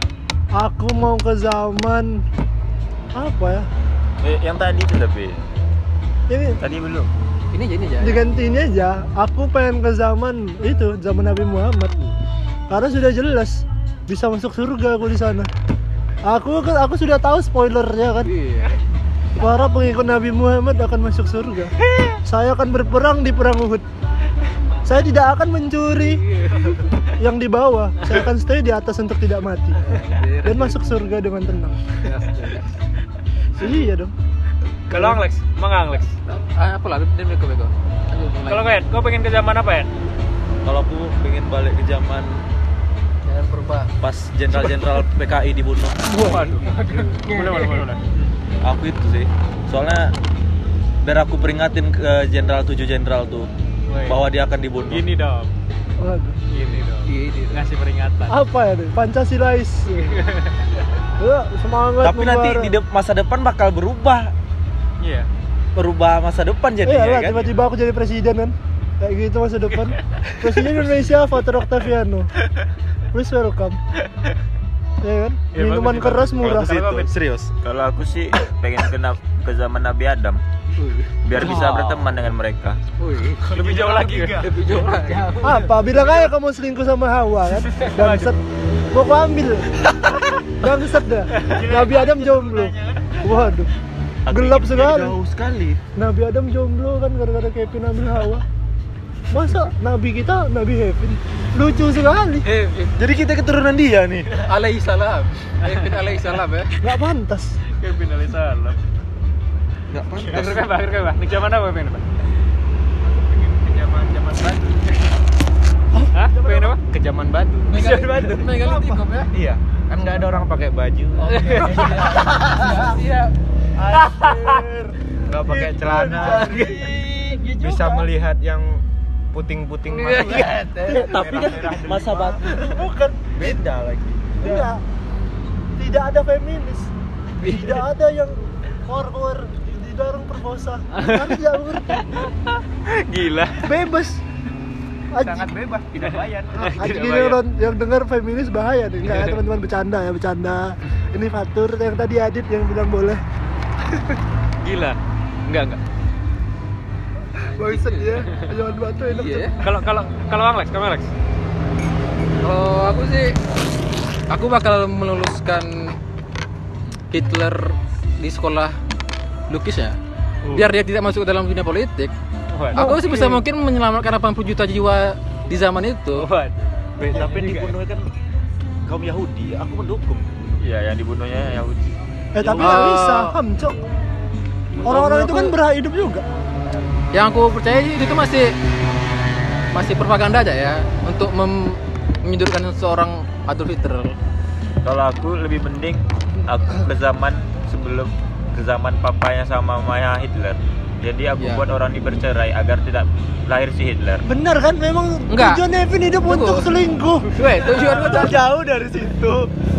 Speaker 1: Aku mau ke zaman apa ya?
Speaker 4: eh, yang tadi itu lebih.
Speaker 1: Ini
Speaker 4: Tadi belum.
Speaker 3: ini jadi ya.
Speaker 1: digantiin aja. Aku pengen ke zaman itu, zaman Nabi Muhammad. Karena sudah jelas bisa masuk surga aku di sana. Aku aku sudah tahu spoilernya kan.
Speaker 3: Iya.
Speaker 1: Para pengikut Nabi Muhammad akan masuk surga. Saya akan berperang di perang Uhud. Saya tidak akan mencuri yang di bawah. Saya akan stay di atas untuk tidak mati dan masuk surga dengan tenang. Iya dong.
Speaker 2: Kalau Alex, emang nggak Alex.
Speaker 3: Ah, apa lah? Dia beko beko. Lanjut, mulai.
Speaker 2: Kalau kalian, kau pengen ke zaman apa ya?
Speaker 5: Kalau aku pengen balik ke zaman
Speaker 3: jangan berubah.
Speaker 5: pas jenderal-jenderal PKI dibunuh.
Speaker 2: Waduh.
Speaker 3: [laughs]
Speaker 2: Boleh, boleh, boleh. boleh.
Speaker 5: Aku itu sih. Soalnya biar aku peringatin ke jenderal tujuh jenderal tuh
Speaker 2: Woi.
Speaker 5: bahwa dia akan dibunuh.
Speaker 2: Gini dong.
Speaker 1: Waduh.
Speaker 2: Gini dong.
Speaker 3: Iya, iya.
Speaker 2: Ngasih peringatan.
Speaker 1: Apa ya deh? Pancasilais.
Speaker 5: [laughs]
Speaker 1: Ayo, Iya, semangat
Speaker 5: Tapi nanti
Speaker 1: membara.
Speaker 5: di de- masa depan bakal berubah,
Speaker 2: Iya.
Speaker 5: berubah masa depan
Speaker 1: Iya
Speaker 5: jadinya
Speaker 1: lah,
Speaker 5: kan.
Speaker 1: tiba-tiba aku jadi presiden kan Kayak gitu masa
Speaker 5: [laughs]
Speaker 1: depan Presiden Indonesia, Fatur Octaviano Please welcome Iya kan?
Speaker 2: Iya,
Speaker 1: Minuman
Speaker 2: bagus,
Speaker 1: keras
Speaker 2: bagus.
Speaker 1: murah
Speaker 2: Kalau
Speaker 5: Itu, serius.
Speaker 4: Kalau aku sih pengen ke, na- ke zaman Nabi Adam biar bisa
Speaker 5: Wow.
Speaker 4: berteman dengan mereka.
Speaker 3: Wih,
Speaker 2: Lebih jauh lagi.
Speaker 3: lebih jauh lagi.
Speaker 1: Apa? Bilang aja kamu selingkuh sama Hawa
Speaker 2: [laughs]
Speaker 1: kan? Bangset Mau aku ambil Bangset dah Nabi Adam jomblo Waduh Gelap sekali
Speaker 5: Jauh sekali.
Speaker 1: Nabi Adam jomblo kan gara-gara Kevin ambil Hawa masa nabi kita nabi Hevin lucu sekali
Speaker 3: Eh, eh,
Speaker 5: Jadi kita keturunan dia nih.
Speaker 3: alaihi salam. Kevin alaihi salam ya.
Speaker 1: nggak pantas
Speaker 2: Kevin Alaihissalam.
Speaker 5: Enggak pantas.
Speaker 2: Akhirnya apa? Akhirnya apa? Nih zaman apa pengen apa? Kejaman zaman batu. Hah? Pengen apa?
Speaker 6: kejaman batu
Speaker 3: Megali- Megalitikop ya.
Speaker 6: iya kan nggak ada orang pakai baju
Speaker 3: Oke.
Speaker 2: Iya.
Speaker 3: Siap.
Speaker 6: nggak pakai
Speaker 1: Iya,
Speaker 6: celana bisa melihat yang
Speaker 3: Iya.
Speaker 6: puting-puting
Speaker 2: Iya,
Speaker 6: masuk
Speaker 5: Tapi kan masa batu.
Speaker 1: bukan
Speaker 6: beda lagi
Speaker 1: enggak tidak ada feminis tidak ada yang horor didorong perkosa karena tidak mengerti
Speaker 2: Gila.
Speaker 3: Ah,
Speaker 1: bebas Aji,
Speaker 6: sangat bebas tidak bayar
Speaker 2: Iya,
Speaker 1: Aji ini orang yang dengar feminis bahaya nih Enggak, teman-teman bercanda ya bercanda ini fatur yang tadi Adit yang bilang boleh
Speaker 2: Gila. Enggak, enggak.
Speaker 1: boyset ya jangan batu enak
Speaker 3: Iya.
Speaker 1: tuh.
Speaker 2: Kalau kalau kalau Alex, kamu Alex.
Speaker 3: Kalau aku sih aku bakal meluluskan Hitler di sekolah lukis ya.
Speaker 2: Oh.
Speaker 3: Biar dia tidak masuk ke dalam dunia politik.
Speaker 2: Waduh.
Speaker 3: Aku sebisa mungkin menyelamatkan 80 juta jiwa di zaman itu.
Speaker 2: Waduh. Iya,
Speaker 5: tapi
Speaker 6: Iya
Speaker 5: dibunuh kan kaum Yahudi, aku mendukung.
Speaker 4: Iya, yang dibunuhnya Yahudi.
Speaker 1: eh tapi nggak
Speaker 3: Ah.
Speaker 1: bisa ham cok orang-orang itu kan berhak hidup juga
Speaker 3: Yang aku percaya itu tuh masih masih propaganda aja ya untuk mem- menyudutkan seorang Adolf Hitler.
Speaker 4: Kalau aku lebih mending aku ke zaman sebelum ke zaman papanya sama mamanya Hitler. Jadi aku
Speaker 3: Iya.
Speaker 4: buat orang ini bercerai agar tidak lahir si Hitler.
Speaker 1: bener kan memang
Speaker 3: Enggak.
Speaker 1: tujuan Evin hidup
Speaker 3: Tunggu.
Speaker 1: untuk selingkuh
Speaker 3: Weh, tujuan gua tuh
Speaker 5: Jauh dari situ.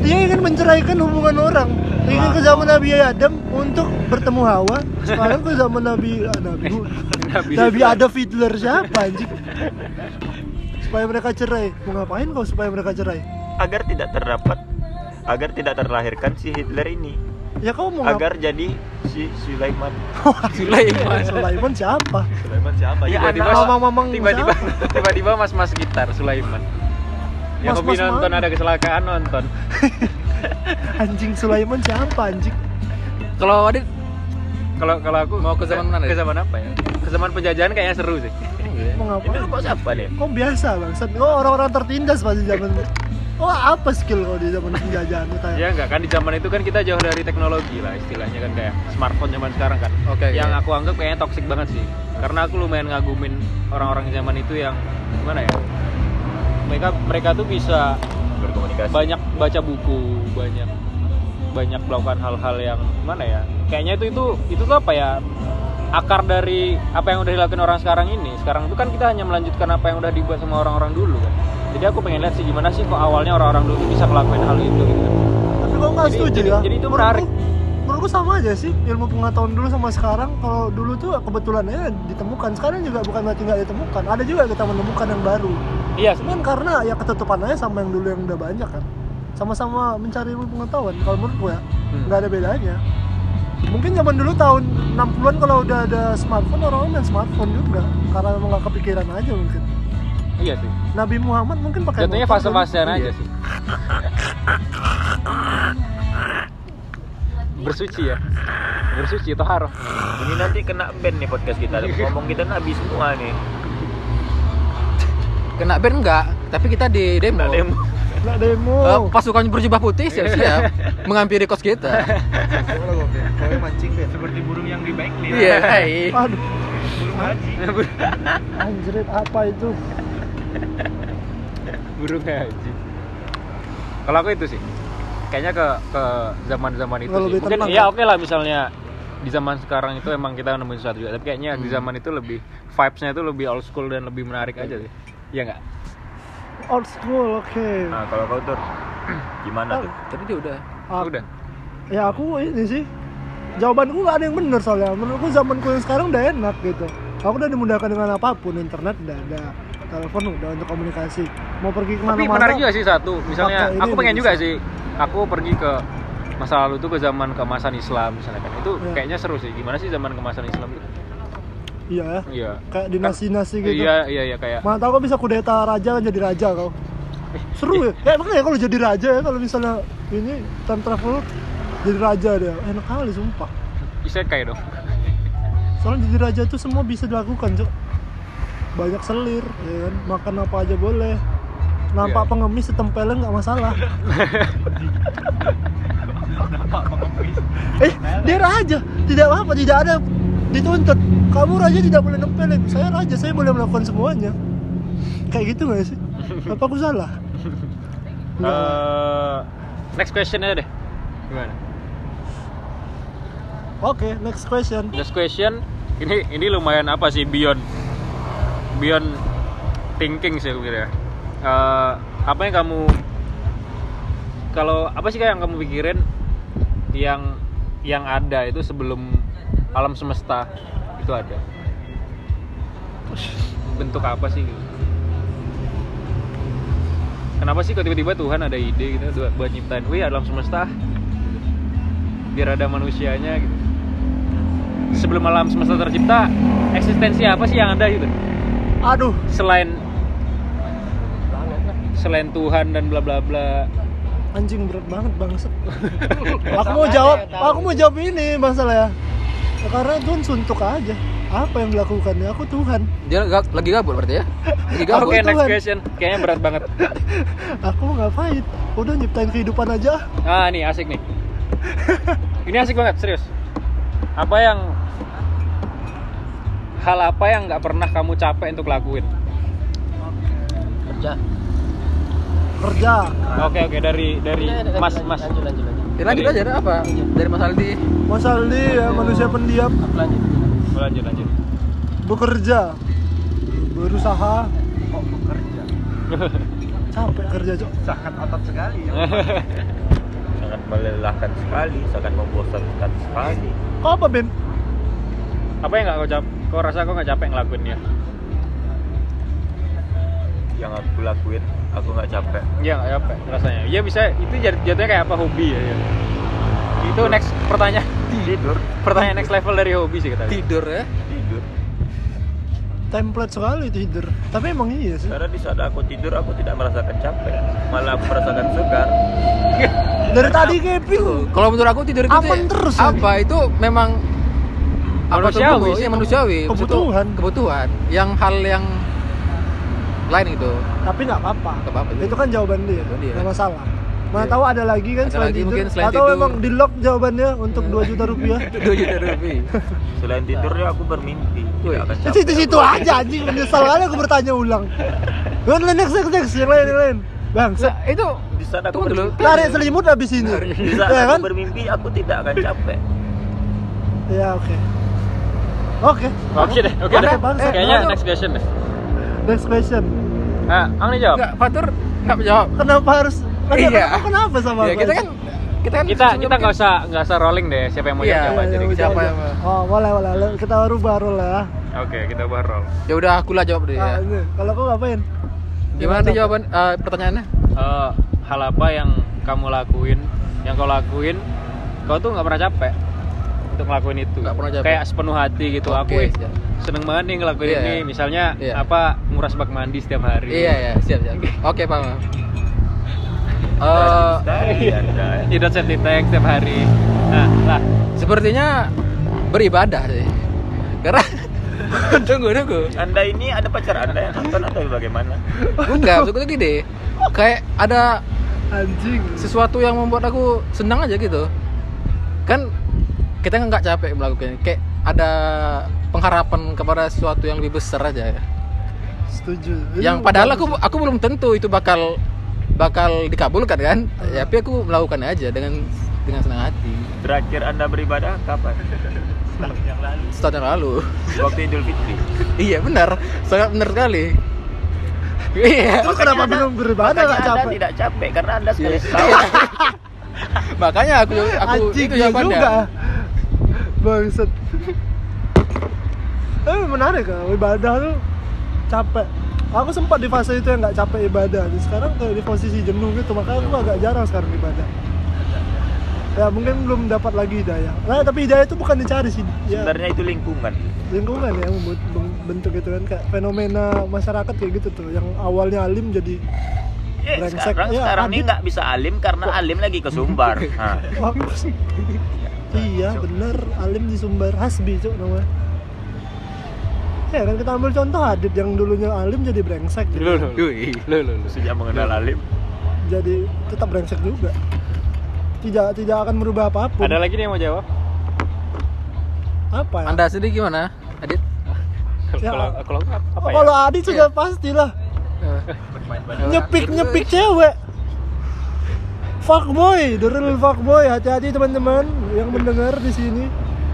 Speaker 1: dia ingin menceraikan hubungan orang ingin ke zaman Nabi Adam untuk bertemu Hawa sekarang ke zaman Nabi ah, Nabi Nabi, ada Fiddler siapa anjing supaya mereka cerai mau ngapain kau supaya mereka cerai
Speaker 4: Agar tidak terdapat agar tidak terlahirkan si Hitler ini.
Speaker 1: ya kau mau
Speaker 4: Agar jadi si Sulaiman.
Speaker 3: ya.
Speaker 1: ngapain Sulaiman siapa
Speaker 5: Sulaiman siapa?
Speaker 4: Ya,
Speaker 2: Tiba-tiba
Speaker 1: anak- mamang-mamang
Speaker 2: tiba-tiba [laughs] tiba-tiba mas-mas gitar Sulaiman. Yang
Speaker 1: Mas-mas
Speaker 2: hobi nonton
Speaker 1: mana?
Speaker 2: ada kecelakaan nonton.
Speaker 1: anjing Sulaiman siapa anjing
Speaker 3: Kalau Adit
Speaker 2: Kalau kalau aku
Speaker 3: Mau ke zaman mana,
Speaker 2: Ke
Speaker 3: Dit?
Speaker 2: zaman apa ya? Ke zaman penjajahan kayaknya seru sih.
Speaker 1: mau
Speaker 4: Ini
Speaker 1: ngapain
Speaker 4: kok siapa deh?
Speaker 1: kau biasa bangsat kau orang-orang tertindas pasti zaman Oh apa skill kau di zaman penjajahan itu tanya?
Speaker 2: Ya enggak kan di zaman itu kan kita jauh dari teknologi lah istilahnya kan kayak smartphone zaman sekarang kan.
Speaker 3: Oke,
Speaker 2: yang
Speaker 3: oke.
Speaker 2: aku anggap kayaknya toksik banget sih. Karena aku lumayan ngagumin orang-orang zaman itu yang gimana ya? Mereka mereka tuh bisa
Speaker 4: Berkomunikasi.
Speaker 2: banyak baca buku, banyak banyak melakukan hal-hal yang mana ya? Kayaknya itu itu itu tuh apa ya? Akar dari apa yang udah dilakukan orang sekarang ini. Sekarang itu kan kita hanya melanjutkan apa yang udah dibuat sama orang-orang dulu kan. Jadi aku pengen lihat sih gimana sih kok awalnya orang-orang dulu tuh bisa ngelakuin hal itu gitu kan.
Speaker 1: Tapi kok nggak
Speaker 2: Jadi-
Speaker 1: setuju
Speaker 2: jadi-
Speaker 1: ya?
Speaker 2: jadi itu
Speaker 1: Menurutku-
Speaker 2: menarik.
Speaker 1: Menurutku sama aja sih ilmu pengetahuan dulu sama sekarang. Kalau dulu tuh kebetulannya ditemukan, sekarang juga bukan berarti nggak ditemukan. Ada juga kita menemukan yang baru.
Speaker 2: Iya,
Speaker 1: Cuman karena ya ketutupan aja sama yang dulu yang udah banyak kan. Sama-sama mencari ilmu pengetahuan. Kalau menurutku ya
Speaker 2: Hmm.
Speaker 1: nggak ada bedanya. Mungkin zaman dulu tahun 60-an kalau udah ada smartphone orang main smartphone juga karena memang nggak kepikiran aja mungkin.
Speaker 2: iya sih.
Speaker 1: Nabi Muhammad mungkin pakai motor
Speaker 2: Jatuhnya
Speaker 1: dulu.
Speaker 2: fase-fasean aja
Speaker 1: Iya.
Speaker 2: sih. Bersuci ya. Bersuci itu haram.
Speaker 4: Ini nanti kena ban nih podcast kita. Ngomong kita nabi semua nih.
Speaker 3: kena band enggak, tapi kita di demo.
Speaker 4: Nggak ada yang
Speaker 1: Nggak demo.
Speaker 3: Eh, pasukan berjubah putih siap-siap menghampiri kos kita.
Speaker 5: Kau mancing deh.
Speaker 6: seperti burung yang di backlist
Speaker 3: Iya. hai.
Speaker 1: Aduh.
Speaker 2: [laughs]
Speaker 6: burung haji
Speaker 1: Anjrit apa itu?
Speaker 2: Burung haji. Kalau aku itu sih. Kayaknya ke ke zaman-zaman itu
Speaker 1: Kalau
Speaker 2: sih.
Speaker 1: lebih
Speaker 2: Mungkin
Speaker 1: tenang,
Speaker 2: ya
Speaker 1: kan?
Speaker 2: oke lah misalnya di zaman sekarang itu emang kita nemuin sesuatu juga, tapi kayaknya di
Speaker 1: Hmm.
Speaker 2: zaman itu lebih vibes-nya itu lebih old school dan lebih menarik aja sih. Iya nggak?
Speaker 1: Old school, oke.
Speaker 4: Nah, kalau kau tuh [clears throat] gimana tuh?
Speaker 3: Tapi dia udah.
Speaker 1: Ah,
Speaker 2: Udah.
Speaker 1: Ya aku ini sih. Jawabanku nggak ada yang bener soalnya. Menurutku zamanku yang sekarang udah enak gitu. Aku udah dimudahkan dengan apapun, internet udah ada, telepon udah untuk komunikasi. Mau pergi kemana-mana.
Speaker 2: Tapi menarik juga sih satu.
Speaker 1: Pakai
Speaker 2: Misalnya
Speaker 1: ini
Speaker 2: aku pengen
Speaker 1: bisa.
Speaker 2: juga sih. Aku pergi ke masa lalu tuh ke zaman kemasan Islam misalnya kan. Itu
Speaker 1: Iya.
Speaker 2: kayaknya seru sih. Gimana sih zaman kemasan Islam itu?
Speaker 1: Iya ya.
Speaker 2: Iya.
Speaker 1: Kayak dinasti-dinasti gitu.
Speaker 2: Iya, iya, iya kayak
Speaker 1: Mana tahu kau bisa kudeta raja kan jadi raja kau. Seru ya. Ya makanya kalau jadi raja ya kalau misalnya ini time travel jadi raja dia. Enak kali sumpah.
Speaker 2: isekai iya, dong.
Speaker 1: Soalnya jadi raja tuh semua bisa dilakukan, Cuk. banyak selir ya kan? makan apa aja boleh nampak
Speaker 6: Iya.
Speaker 1: pengemis setempelnya nggak masalah eh dia raja tidak apa tidak ada dituntut kamu raja tidak boleh nempelin saya raja saya boleh melakukan semuanya kayak gitu nggak sih apa aku salah Nggak lah.
Speaker 2: Eh, next question aja deh.
Speaker 6: Gimana?
Speaker 1: Oke, next question.
Speaker 2: Next question. Ini ini lumayan apa sih beyond beyond thinking sih gue kira. ya. Eh, apa yang kamu kalau apa sih kayak yang kamu pikirin yang yang ada itu sebelum alam semesta itu ada bentuk apa sih gitu? kenapa sih kok tiba-tiba Tuhan ada ide gitu buat- buat nyiptain wih alam semesta biar ada manusianya gitu sebelum alam semesta tercipta eksistensi apa sih yang ada gitu
Speaker 1: Aduh,
Speaker 2: selain selain Tuhan dan bla bla bla
Speaker 1: anjing berat banget bangset. aku mau jawab, aku mau jawab ini masalah ya. Karena Tuhan suntuk aja. Apa yang dilakukannya? Aku Tuhan. [laughs]
Speaker 3: Dia ga- lagi gabut berarti ya? Lagi
Speaker 1: Gak,
Speaker 3: gabut.
Speaker 2: Oke
Speaker 1: gua
Speaker 2: next
Speaker 1: Tuhan.
Speaker 2: question kayaknya berat banget
Speaker 1: Aku mau ngapain? Udah nyiptain kehidupan aja.
Speaker 2: ah nih asik nih ini asik banget serius apa yang hal apa yang nggak pernah kamu capek untuk lakuin
Speaker 7: kerja
Speaker 1: Kerja.
Speaker 2: oke oke dari dari
Speaker 7: Lanjut,
Speaker 2: mas
Speaker 7: lanjut,
Speaker 2: mas
Speaker 7: lanjut lanjut lanjut
Speaker 3: Ya, lanjut aja ada apa? Dari Mas Aldi.
Speaker 1: Masa Aldi ya, manusia pendiam.
Speaker 7: Aku lanjut
Speaker 2: lanjut lanjut
Speaker 1: Bekerja. Berusaha. Capek kerja, Cok.
Speaker 6: Sangat otot sekali ya.
Speaker 4: sangat melelahkan sekali sangat membosankan sekali
Speaker 1: Kau apa, Ben?
Speaker 2: apa yang nggak kau cap kau rasa kau nggak capek ngelakuinnya
Speaker 4: yang aku lakuin aku nggak capek
Speaker 2: Iya nggak capek rasanya. Iya bisa itu jat- jatuhnya kayak apa hobi ya. ya. Itu next pertanyaan
Speaker 4: tidur
Speaker 2: pertanyaan next level dari hobi sih kita.
Speaker 3: Tidur ya.
Speaker 4: tidur
Speaker 1: Template sekali tidur. Tapi emang iya sih.
Speaker 4: karena di saat aku tidur aku tidak merasakan capek malah aku merasakan segar
Speaker 1: Dari tadi keping.
Speaker 3: Kalau menurut aku tidur itu
Speaker 1: Aman
Speaker 3: tuh
Speaker 1: terus, ya.
Speaker 3: apa itu memang apa tuh,
Speaker 2: Manusiawi
Speaker 3: kebu-
Speaker 2: sih.
Speaker 3: iya, manusiawi Maksud tuh
Speaker 1: Kebutuhan.
Speaker 3: kebutuhan yang hal yang lain gitu
Speaker 1: tapi nggak apa-apa.
Speaker 3: Nggak apa-apa.
Speaker 1: Itu kan jawaban dia,
Speaker 3: Jawaban dia.
Speaker 1: nggak masalah. Mana
Speaker 3: Iya.
Speaker 1: tahu ada lagi kan
Speaker 3: Ada
Speaker 1: selain
Speaker 3: lagi
Speaker 1: tidur.
Speaker 3: mungkin selain Iya.
Speaker 1: Atau
Speaker 3: tidur.
Speaker 1: emang di lock jawabannya untuk 2 juta
Speaker 3: [laughs]
Speaker 1: rupiah.
Speaker 3: dua juta rupiah
Speaker 4: selain tidurnya
Speaker 1: Nah.
Speaker 4: aku bermimpi
Speaker 3: Wih.
Speaker 4: tidak akan
Speaker 1: Di
Speaker 4: capek
Speaker 1: situ-situ Ya,
Speaker 3: Iya.
Speaker 1: aja anjing menyesal kali aku bertanya ulang. Yang lain next next next yang lain yang lain. Bang, se-
Speaker 3: Nah, itu
Speaker 4: di saat aku
Speaker 3: tunggu dulu
Speaker 4: bermimpi,
Speaker 1: tarik selimut habis ini.
Speaker 4: di
Speaker 2: [laughs] Iya,
Speaker 4: saat
Speaker 1: Ya
Speaker 4: aku
Speaker 1: kan?
Speaker 4: bermimpi aku tidak akan capek
Speaker 1: Ya oke. Oke.
Speaker 2: Oke deh, oke
Speaker 1: Ada
Speaker 2: deh.
Speaker 1: bang, eh,
Speaker 2: Kayaknya
Speaker 1: ada.
Speaker 2: next question deh.
Speaker 1: Next question.
Speaker 2: Nah, Ang nih jawab.
Speaker 3: nggak fatur nggak jawab
Speaker 1: Kenapa harus
Speaker 3: Iya.
Speaker 1: Kenapa- Kenapa sama
Speaker 3: ya
Speaker 1: aku?
Speaker 3: kita kan kita kan
Speaker 2: Kita kita nggak usah nggak usah rolling deh siapa yang mau
Speaker 3: Iya,
Speaker 2: jawab
Speaker 1: Iya,
Speaker 2: aja
Speaker 1: iya,
Speaker 2: deh.
Speaker 1: iya,
Speaker 2: Oke,
Speaker 3: Siapa
Speaker 1: iya.
Speaker 3: yang mau?
Speaker 1: Oh, boleh boleh. Kita rubah role ya.
Speaker 2: kita buat roll.
Speaker 3: ya udah aku lah jawab deh
Speaker 1: Ah,
Speaker 3: ya.
Speaker 1: ini. Kalau aku ngapain?
Speaker 3: gimana nih jawaban eh, pertanyaannya
Speaker 2: Eh, hal apa yang kamu lakuin, yang kau lakuin, kau tuh nggak pernah capek untuk ngelakuin itu.
Speaker 3: Nggak pernah capek.
Speaker 2: Kayak sepenuh hati gitu
Speaker 3: Oke,
Speaker 2: aku. ih,
Speaker 3: siap.
Speaker 2: Seneng banget nih ngelakuin
Speaker 3: Iya,
Speaker 2: ini.
Speaker 3: iya.
Speaker 2: Misalnya
Speaker 3: Iya.
Speaker 2: apa nguras bak mandi setiap hari.
Speaker 3: iya ya siap siap oke paham paham. Eh,
Speaker 4: dari anda
Speaker 2: nyedot safety tank Iya, setiap hari nah lah
Speaker 3: sepertinya beribadah sih karena [laughs] tunggu tunggu
Speaker 4: anda ini ada pacar anda yang nonton atau bagaimana
Speaker 3: [laughs] enggak maksudku tuh gini kayak ada
Speaker 1: Anjing.
Speaker 3: sesuatu yang membuat aku senang aja gitu kan kita nggak capek melakukannya kayak ada pengharapan kepada sesuatu yang lebih besar aja ya.
Speaker 1: Setuju. Ini
Speaker 3: yang
Speaker 1: Iya,
Speaker 3: padahal
Speaker 1: bagus.
Speaker 3: aku aku belum tentu itu bakal bakal dikabulkan kan ya, tapi aku melakukan aja dengan dengan senang hati
Speaker 4: terakhir anda beribadah kapan
Speaker 3: setahun yang lalu
Speaker 4: waktu Idul Fitri
Speaker 3: iya benar sangat benar sekali iya
Speaker 1: Lu kenapa belum beribadah
Speaker 4: Makanya
Speaker 1: gak
Speaker 4: anda
Speaker 1: capek?
Speaker 4: tidak capek karena anda sekali
Speaker 3: Iya.
Speaker 4: setahun
Speaker 3: makanya aku aku
Speaker 1: Anjing
Speaker 3: itu
Speaker 1: iya
Speaker 3: jawabannya
Speaker 1: juga. Bangset. [laughs] Eh menarik kan ibadah tuh capek. Aku sempat di fase itu yang nggak capek ibadah. Jadi sekarang kayak di posisi jenuh gitu, makanya aku agak jarang sekarang ibadah. Ya mungkin belum dapat lagi hidayah. Nah, tapi hidayah itu bukan dicari sih. Ya,
Speaker 4: sebenarnya itu lingkungan
Speaker 1: lingkungan ya membuat- bentuk itu kan kayak fenomena masyarakat kayak gitu tuh yang awalnya alim jadi
Speaker 4: Eh,
Speaker 1: Brengsek.
Speaker 4: sekarang
Speaker 1: Ya,
Speaker 4: sekarang ini
Speaker 1: Adit.
Speaker 4: nggak bisa alim karena alim lagi ke
Speaker 1: [laughs]
Speaker 4: Sumbar. Nah,
Speaker 1: Mampus. iya bener alim di sumber hasbi cok namanya ya kan kita ambil contoh Adit yang dulunya alim jadi brengsek gitu.
Speaker 2: Lu, lu, lu.
Speaker 3: Yui.
Speaker 2: Lu, lu, lu.
Speaker 4: sejak mengenal Alim
Speaker 1: jadi tetap brengsek juga tidak tidak akan merubah apapun
Speaker 2: Ada lagi nih yang mau jawab?
Speaker 1: apa ya?
Speaker 3: Anda sendiri gimana, Adit?
Speaker 1: Ya.
Speaker 2: Kalau kalau aku apa- apa ya?
Speaker 1: kalau Adit sudah pastilah nyepik nyepik cewek fuckboy the real fuckboy hati-hati teman-teman yang mendengar di sini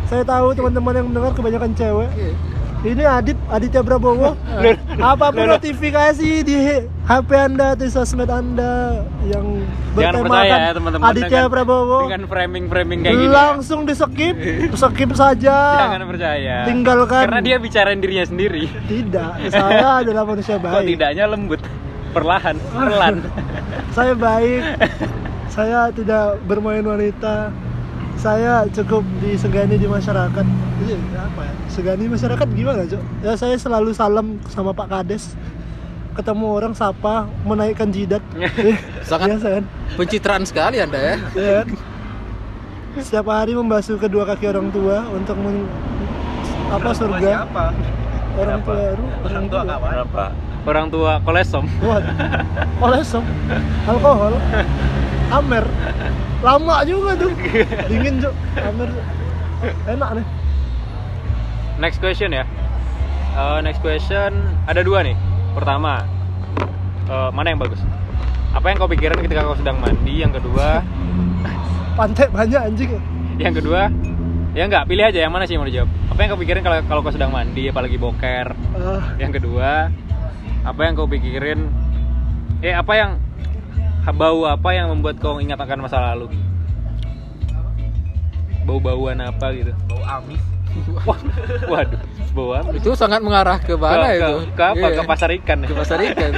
Speaker 1: saya tahu teman-teman yang mendengar kebanyakan cewek ini Adit Aditya
Speaker 2: [laughs]
Speaker 1: Prabowo apapun notifikasi di HP anda di sosmed anda yang
Speaker 2: Jangan percaya ya
Speaker 1: bertemakan
Speaker 2: teman-teman
Speaker 1: Aditya
Speaker 2: dengan-
Speaker 1: Prabowo
Speaker 2: Dengan framing-framing kayak gini ya.
Speaker 1: langsung di skip skip saja
Speaker 2: Jangan percaya
Speaker 1: Tinggalkan.
Speaker 2: Karena dia bicarain dirinya sendiri
Speaker 1: tidak saya adalah manusia
Speaker 2: Kok
Speaker 1: baik
Speaker 2: tidaknya lembut Perlahan
Speaker 1: [laughs]
Speaker 2: Perlahan
Speaker 1: saya baik saya tidak bermain wanita saya cukup disegani di masyarakat Jadi, apa ya segani masyarakat gimana cok ya saya selalu salam sama Pak Kades ketemu orang sapa menaikkan jidat
Speaker 3: Sangat-
Speaker 1: biasa kan
Speaker 3: Pencitraan sekali Anda ya.
Speaker 1: Iya kan? setiap hari membasuh kedua kaki orang tua untuk men- apa surga
Speaker 6: Siapa?
Speaker 1: orang
Speaker 4: Siapa?
Speaker 1: tua orang tua
Speaker 4: kenapa
Speaker 2: Orang tua kolesom
Speaker 1: Buat kolesom, alkohol, amer, lama juga tuh, dingin cok, amer, enak nih.
Speaker 2: Next question ya Eh, Next question Ada dua nih Pertama eh, Mana yang bagus? Apa yang kau pikirin ketika kau sedang mandi? Yang kedua [laughs]
Speaker 1: Pantai banyak anjing. ya.
Speaker 2: Yang kedua Ya enggak, pilih aja yang mana sih yang mau dijawab Apa yang kau pikirin kalau, kalau kau sedang mandi Apalagi boker
Speaker 1: Eh,
Speaker 2: Yang kedua, apa yang kau pikirin? Eh, apa yang bau apa yang membuat kau ingat akan masa lalu? Bau-bauan apa gitu?
Speaker 6: Bau amis.
Speaker 2: Wah, [laughs] waduh, bau amis.
Speaker 3: Itu sangat mengarah ke mana
Speaker 2: Ke-
Speaker 3: itu?
Speaker 2: Ke, ke apa?
Speaker 3: Iya.
Speaker 2: Ke pasar ikan. ya?
Speaker 3: Ke pasar ikan.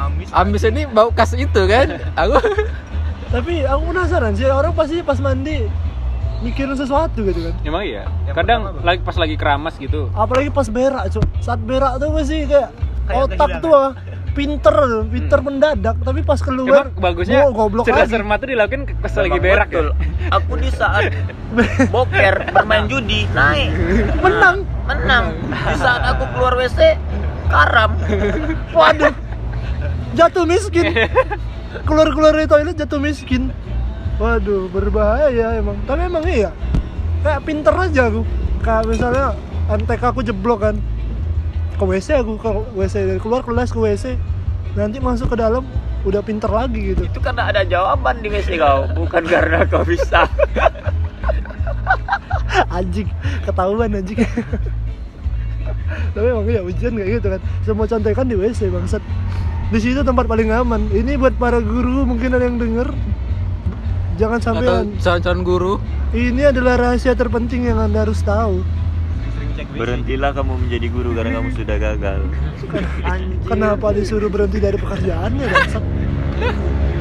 Speaker 6: Amis.
Speaker 3: Amis ini bau khas itu kan? Aku
Speaker 1: tapi aku penasaran sih orang pasti pas mandi mikirin sesuatu gitu kan.
Speaker 2: Emang iya.
Speaker 6: Yang
Speaker 2: Kadang
Speaker 6: pertama apa?
Speaker 2: lagi pas lagi keramas gitu.
Speaker 1: Apalagi pas berak cok, saat berak tuh pasti kayak
Speaker 6: Kayak
Speaker 1: otak
Speaker 6: kehilangan.
Speaker 1: tuh
Speaker 2: ya?
Speaker 1: ah, pinter, pinter mendadak. Tapi pas keluar,
Speaker 2: Hmm. Emang bagusnya
Speaker 1: oh, goblok
Speaker 2: cerdas ya?
Speaker 1: lagi.
Speaker 2: cermat itu dilakukan ke- pas lagi berak ya.
Speaker 4: betul aku di saat boker bermain judi naik
Speaker 1: Menang.
Speaker 4: menang di saat aku keluar WC karam
Speaker 1: Waduh. Jatuh miskin. Keluar-keluar dari toilet jatuh miskin. Waduh, berbahaya emang. Tapi emang iya. Kayak pinter aja aku. Kayak misalnya MTK aku jeblok kan. Ke WC aku ke WC dari keluar kelas ke WC. Nanti masuk ke dalam udah pinter lagi gitu. [laughs]
Speaker 4: itu karena ada jawaban di WC kau bukan karena kau bisa
Speaker 1: anjing ketahuan anjing [laughs] tapi emang ya hujan kayak gitu kan semua contekan di WC bangsat di situ tempat paling aman ini buat para guru mungkin ada yang denger jangan sampai
Speaker 3: atau calon-calon guru.
Speaker 1: ini adalah rahasia terpenting yang anda harus tahu
Speaker 4: berhentilah kamu menjadi guru karena kamu sudah gagal
Speaker 1: kenapa disuruh berhenti dari pekerjaannya bangsat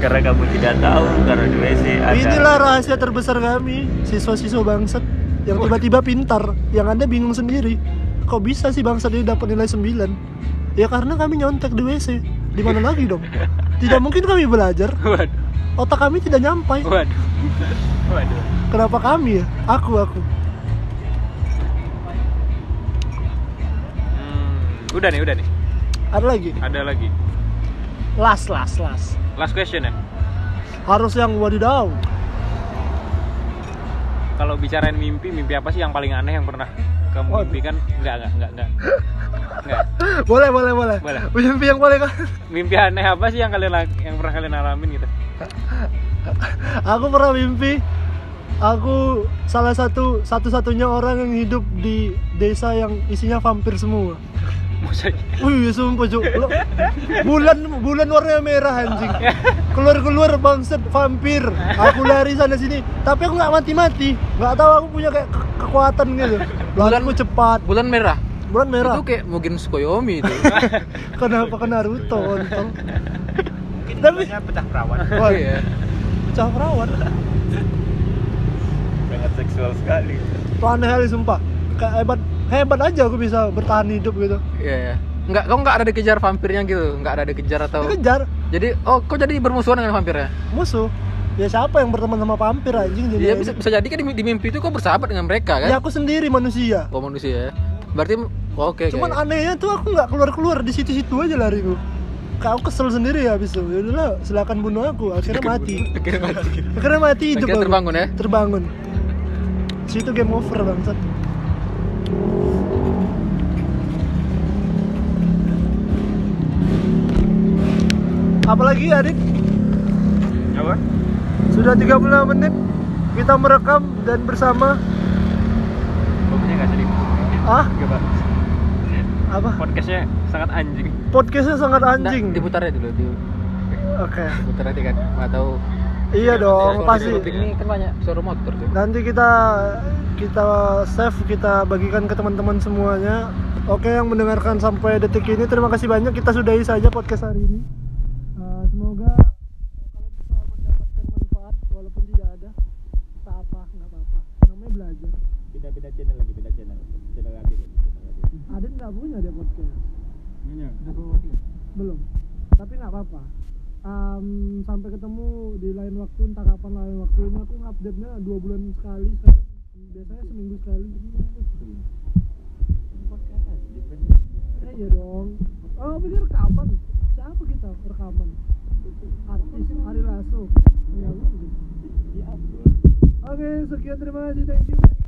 Speaker 4: karena kamu tidak tahu karena di WC ada
Speaker 1: inilah rahasia terbesar kami siswa-siswa bangsat yang tiba-tiba pintar yang anda bingung sendiri kok bisa sih bangsat ini dapat nilai 9 ya karena kami nyontek di WC di mana lagi dong
Speaker 2: [laughs]
Speaker 1: tidak mungkin kami belajar
Speaker 2: [laughs] Waduh,
Speaker 1: otak kami tidak nyampai
Speaker 2: waduh. Waduh.
Speaker 1: kenapa kami ya aku aku
Speaker 2: Hmm, udah nih, udah nih.
Speaker 1: ada lagi
Speaker 2: Ada lagi.
Speaker 1: las las las
Speaker 2: Last question ya.
Speaker 1: harus yang
Speaker 2: [gasps]
Speaker 1: wadidaw
Speaker 2: kalau bicarain mimpi, mimpi apa sih yang paling aneh yang pernah kamu
Speaker 1: Waduh.
Speaker 2: mimpikan? Enggak, enggak, enggak, enggak. Enggak.
Speaker 1: boleh boleh boleh
Speaker 2: Boleh.
Speaker 1: mimpi yang boleh kan
Speaker 2: Mimpi aneh apa sih yang kalian lak- yang pernah kalian alamin gitu?
Speaker 1: aku pernah mimpi aku salah satu satu-satunya orang yang hidup di desa yang isinya vampir semua
Speaker 2: Maksudnya
Speaker 3: iya?
Speaker 1: Wih, sumpah cuk. Lo- Bulan bulan warna merah anjing. Keluar-keluar bangset vampir. Aku lari sana sini, tapi aku nggak mati-mati. Nggak tahu aku punya kayak ke- kekuatan gitu. Lariku cepat.
Speaker 3: Bulan merah.
Speaker 1: Bulan merah.
Speaker 3: Itu kayak mungkin
Speaker 1: [laughs]
Speaker 3: Tsukuyomi itu.
Speaker 1: Kenapa ke Naruto ontol? Tapi
Speaker 6: Hanya pecah perawan.
Speaker 1: Wah,
Speaker 3: Iya.
Speaker 1: pecah perawan.
Speaker 4: sangat seksual sekali
Speaker 1: Tuh aneh kali sumpah. Kayak hebat hebat aja aku bisa bertahan hidup gitu.
Speaker 3: Iya. iya. Enggak, kau enggak ada dikejar vampirnya gitu, enggak ada dikejar atau
Speaker 1: Dikejar
Speaker 3: Jadi oh kok jadi bermusuhan dengan vampirnya?
Speaker 1: musuh. Ya siapa yang berteman sama vampir anjing gitu. jadi.
Speaker 3: Iya bisa, bisa jadi kan di, di mimpi itu kau bersahabat dengan mereka kan?
Speaker 1: Ya aku sendiri manusia.
Speaker 3: Kau manusia ya. Berarti oh, oke.
Speaker 1: Cuman
Speaker 3: oke.
Speaker 1: anehnya tuh aku nggak keluar-keluar di situ-situ aja lari gue. Kau kesel sendiri ya abis itu. Yaudah silakan bunuh aku. Akhirnya mati.
Speaker 3: Akhirnya mati.
Speaker 1: Akhirnya mati hidup.
Speaker 3: Akhirnya
Speaker 1: aku.
Speaker 3: terbangun ya?
Speaker 1: Terbangun. Situ game over bangsat. Apalagi Adik
Speaker 6: Apa?
Speaker 1: sudah 35 menit kita merekam dan bersama
Speaker 2: bagusnya nggak sedih
Speaker 1: ah
Speaker 2: Nggak bagus.
Speaker 1: apa
Speaker 2: podcastnya sangat anjing
Speaker 1: podcastnya sangat
Speaker 3: Nggak,
Speaker 1: anjing. Oke.
Speaker 3: Nah, diputar aja dulu, diputar aja kan. Enggak tahu.
Speaker 1: Iya dong,
Speaker 3: Suara
Speaker 1: pasti.
Speaker 3: publik Ini kan banyak suara motor tuh.
Speaker 1: Nanti kita kita save, kita bagikan ke teman-teman semuanya. Oke, yang mendengarkan sampai detik ini terima kasih banyak. Kita sudahi saja podcast hari ini. Eh, semoga kalian bisa mendapatkan manfaat walaupun tidak ada. Tak apa, nggak apa-apa. Namanya belajar.
Speaker 4: Beda-beda channel lagi, beda channel. Channel lagi.
Speaker 1: Adit nggak punya dia podcast. Belum. Tapi nggak apa-apa. Em, sampai ketemu di lain waktu entah kapan lain waktu ini aku update-nya dua bulan sekali sekarang biasanya seminggu sekali Eh, iya dong oh ini rekaman siapa kita rekaman artis Ari Lasso Ya, lu. oke sekian terima kasih thank you